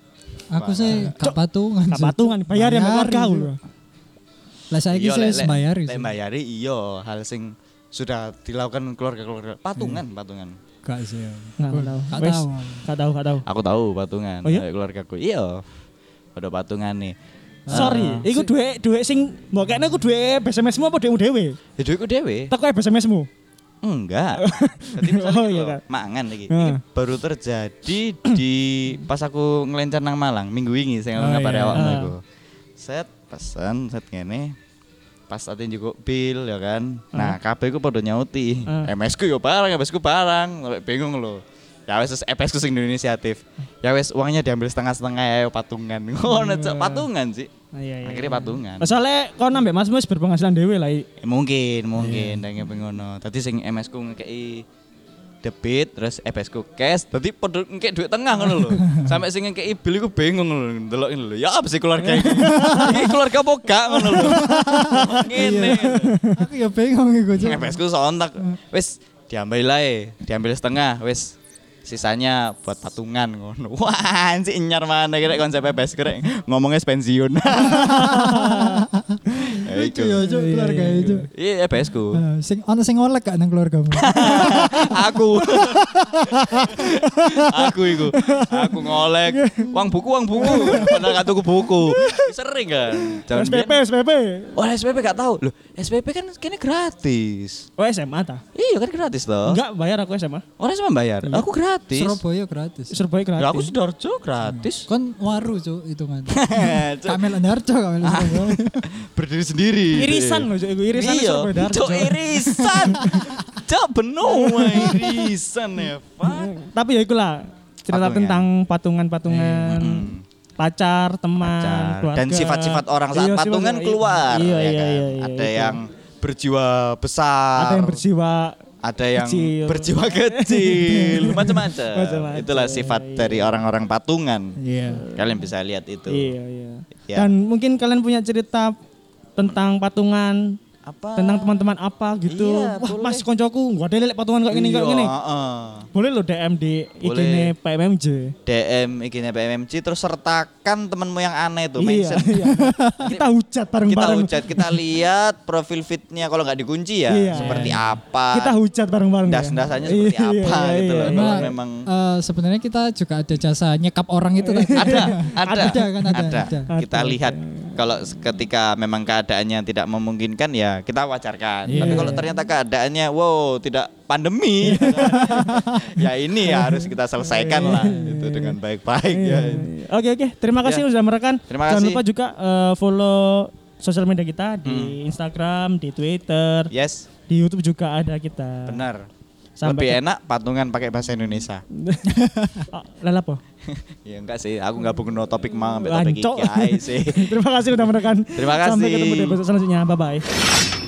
[SPEAKER 3] Aku sih gak patungan.
[SPEAKER 1] Gak patungan, bayar ya sama keluarga
[SPEAKER 3] Bayarin,
[SPEAKER 1] lho.
[SPEAKER 3] Cuk. Lah saya
[SPEAKER 2] Iya,
[SPEAKER 3] saya
[SPEAKER 2] lek- lek-
[SPEAKER 3] sembayar.
[SPEAKER 2] lek mbayari iya hal sing sudah dilakukan keluarga-keluarga patungan
[SPEAKER 1] Hmm.
[SPEAKER 2] patungan.
[SPEAKER 3] Gak sih. ya.
[SPEAKER 1] Nggak
[SPEAKER 3] Gua
[SPEAKER 1] tahu.
[SPEAKER 3] Gak
[SPEAKER 1] Wes,
[SPEAKER 3] tahu.
[SPEAKER 1] Gak tahu, gak tahu.
[SPEAKER 2] Aku tahu patungan
[SPEAKER 1] Oh iya?
[SPEAKER 2] eh, keluargaku. Iya. Udah patungan nih. Eh,
[SPEAKER 1] Sorry, iku duwe duwe sing mbok kene iku duwe SMS-mu apa dhewe dhewe?
[SPEAKER 2] Ya duitku dhewe.
[SPEAKER 1] Tak kowe SMS-mu.
[SPEAKER 2] Enggak. Jadi misalnya
[SPEAKER 1] Oh,
[SPEAKER 2] gitu
[SPEAKER 1] iya,
[SPEAKER 2] loh,
[SPEAKER 1] Kak.
[SPEAKER 2] mangan lagi.
[SPEAKER 1] Heeh.
[SPEAKER 2] Ini baru terjadi di pas aku ngelencar nang Malang minggu ini saya
[SPEAKER 3] Oh,
[SPEAKER 2] ngomong kabar
[SPEAKER 3] iya.
[SPEAKER 2] awak
[SPEAKER 1] Heeh.
[SPEAKER 2] aku. Set pesen set ngene. Pas atin juga bill ya kan. Nah, kabeh ku padha nyauti.
[SPEAKER 1] Heeh.
[SPEAKER 2] MS ku yo barang, MS ku barang. Sampai bingung loh. Ya wes terus MS ku sing inisiatif. Ya wes uangnya diambil setengah-setengah ya patungan. Ngono Cok, patungan sih.
[SPEAKER 1] Ah, Iya,
[SPEAKER 2] Akhirnya patungan.
[SPEAKER 1] Soalnya kon ambek Mas Mus berpenghasilan dhewe lah. I.
[SPEAKER 2] Eh, mungkin
[SPEAKER 3] Iya.
[SPEAKER 2] mungkin yeah. pengono tadi sing MS ku ngekei debit terus EPS ku cash tadi podo ngekei duit tengah ngono lho sampai sing ngekei bill ku bingung lho ndelok lho ya apa sih keluarga ini Ini keluarga apa gak ngono lho
[SPEAKER 3] Iya.
[SPEAKER 2] ngene
[SPEAKER 3] Aku ya bingung iku, Cuk.
[SPEAKER 2] EPS ku sontak wis diambil lah diambil setengah wis sisanya buat patungan ngono wah anjir nyar mana kira konsep EPS kira ngomongnya pensiun Ya, iku.
[SPEAKER 3] Lucu ya, Cuk, keluarga itu.
[SPEAKER 2] iya EPS ku
[SPEAKER 3] sing ono sing oleh gak nang keluargamu?
[SPEAKER 2] aku aku iku aku ngolek uang buku uang buku padahal gak tuku buku sering kan Jaman
[SPEAKER 1] SPP,
[SPEAKER 2] biyen-
[SPEAKER 1] SPP.
[SPEAKER 2] oh SPP gak tahu loh SPP kan kini gratis
[SPEAKER 1] Oh SMA ta?
[SPEAKER 2] iya kan gratis toh
[SPEAKER 1] Enggak Iya. bayar aku SMA.
[SPEAKER 2] orang cuma bayar aku gratis
[SPEAKER 3] Surabaya gratis.
[SPEAKER 1] Surabaya gratis.
[SPEAKER 2] Lah, aku sidoarjo gratis
[SPEAKER 3] Kon waru, Cuk, hitungan.
[SPEAKER 2] Cuk,
[SPEAKER 3] Kamil Andarjo, Kamil Surabaya.
[SPEAKER 2] berdiri sendiri
[SPEAKER 1] irisan loh Cuk, iku irisan
[SPEAKER 2] iya
[SPEAKER 1] Surabaya Darjo.
[SPEAKER 2] cok irisan cok benua irisan ya Pak.
[SPEAKER 1] Tapi ya ikulah cerita
[SPEAKER 2] Patungan. Mm-hmm.
[SPEAKER 1] tentang patungan-patungan. pacar, teman,
[SPEAKER 2] pacar.
[SPEAKER 1] Ah, keluarga.
[SPEAKER 2] dan sifat-sifat orang saat
[SPEAKER 1] Iya,
[SPEAKER 2] patungan
[SPEAKER 1] sifat-
[SPEAKER 2] keluar
[SPEAKER 1] Iya,
[SPEAKER 2] ya
[SPEAKER 1] iya,
[SPEAKER 2] kan?
[SPEAKER 1] iya, iya,
[SPEAKER 2] ada
[SPEAKER 1] iya.
[SPEAKER 2] yang berjiwa besar
[SPEAKER 1] ada yang berjiwa
[SPEAKER 2] ada yang
[SPEAKER 1] kecil.
[SPEAKER 2] berjiwa kecil macam-macam
[SPEAKER 1] Macam-macam. Iya.
[SPEAKER 2] itulah sifat dari orang-orang patungan
[SPEAKER 3] Iya.
[SPEAKER 2] kalian bisa lihat itu
[SPEAKER 1] Iya, iya.
[SPEAKER 2] Ya.
[SPEAKER 1] Dan mungkin kalian punya cerita tentang patungan,
[SPEAKER 2] apa
[SPEAKER 1] tentang teman-teman apa gitu.
[SPEAKER 2] Iya,
[SPEAKER 1] Wah,
[SPEAKER 2] boleh.
[SPEAKER 1] Mas koncoku gua ada lek patungan kok gini
[SPEAKER 2] Iya,
[SPEAKER 1] kok gini.
[SPEAKER 2] heeh.
[SPEAKER 1] Boleh lo DM di
[SPEAKER 2] Boleh.
[SPEAKER 1] IG-ne PMMJ.
[SPEAKER 2] DM IG-nya PMMC terus sertakan temenmu yang aneh tuh
[SPEAKER 1] Iya,
[SPEAKER 2] mention
[SPEAKER 1] iya. Kita hujat
[SPEAKER 2] kita
[SPEAKER 1] bareng-bareng.
[SPEAKER 2] hujat kita lihat profil fitnya kalau nggak dikunci ya
[SPEAKER 1] Iya.
[SPEAKER 2] seperti apa
[SPEAKER 1] Kita hujat bareng-bareng. ya.
[SPEAKER 2] Das-dasannya seperti
[SPEAKER 1] Iya,
[SPEAKER 2] apa
[SPEAKER 1] iya,
[SPEAKER 2] gitu
[SPEAKER 1] iya,
[SPEAKER 2] loh.
[SPEAKER 1] iya.
[SPEAKER 2] Kalau
[SPEAKER 3] Nah,
[SPEAKER 2] memang- Iya.
[SPEAKER 3] eh, sebenarnya kita juga ada jasa nyekap orang itu tadi.
[SPEAKER 2] ada, ada,
[SPEAKER 3] Ada kan, ada, ada.
[SPEAKER 2] Kita lihat kalau s- ketika memang keadaannya tidak memungkinkan ya kita wajarkan. Tapi kalau ternyata keadaannya wow tidak pandemi, ya ini ya harus kita selesaikan lah itu dengan baik-baik ya.
[SPEAKER 1] Iya. Oke oke, terima kasih sudah merekan.
[SPEAKER 2] Terima
[SPEAKER 1] Jangan
[SPEAKER 2] kasih.
[SPEAKER 1] lupa juga eh, follow sosial media kita di
[SPEAKER 2] Hmm.
[SPEAKER 1] Instagram, di Twitter,
[SPEAKER 2] Yes,
[SPEAKER 1] di YouTube juga ada kita.
[SPEAKER 2] benar.
[SPEAKER 1] Sampai
[SPEAKER 2] Lebih enak patungan pakai bahasa Indonesia.
[SPEAKER 1] Oh, Lala po.
[SPEAKER 2] ya enggak sih, aku nggak pengen topik mang, sampai topik
[SPEAKER 1] Lancok.
[SPEAKER 2] iki ae sih.
[SPEAKER 1] terima kasih sudah merekan.
[SPEAKER 2] Terima
[SPEAKER 1] Sampai
[SPEAKER 2] kasih.
[SPEAKER 1] ketemu di episode selanjutnya. Bye bye.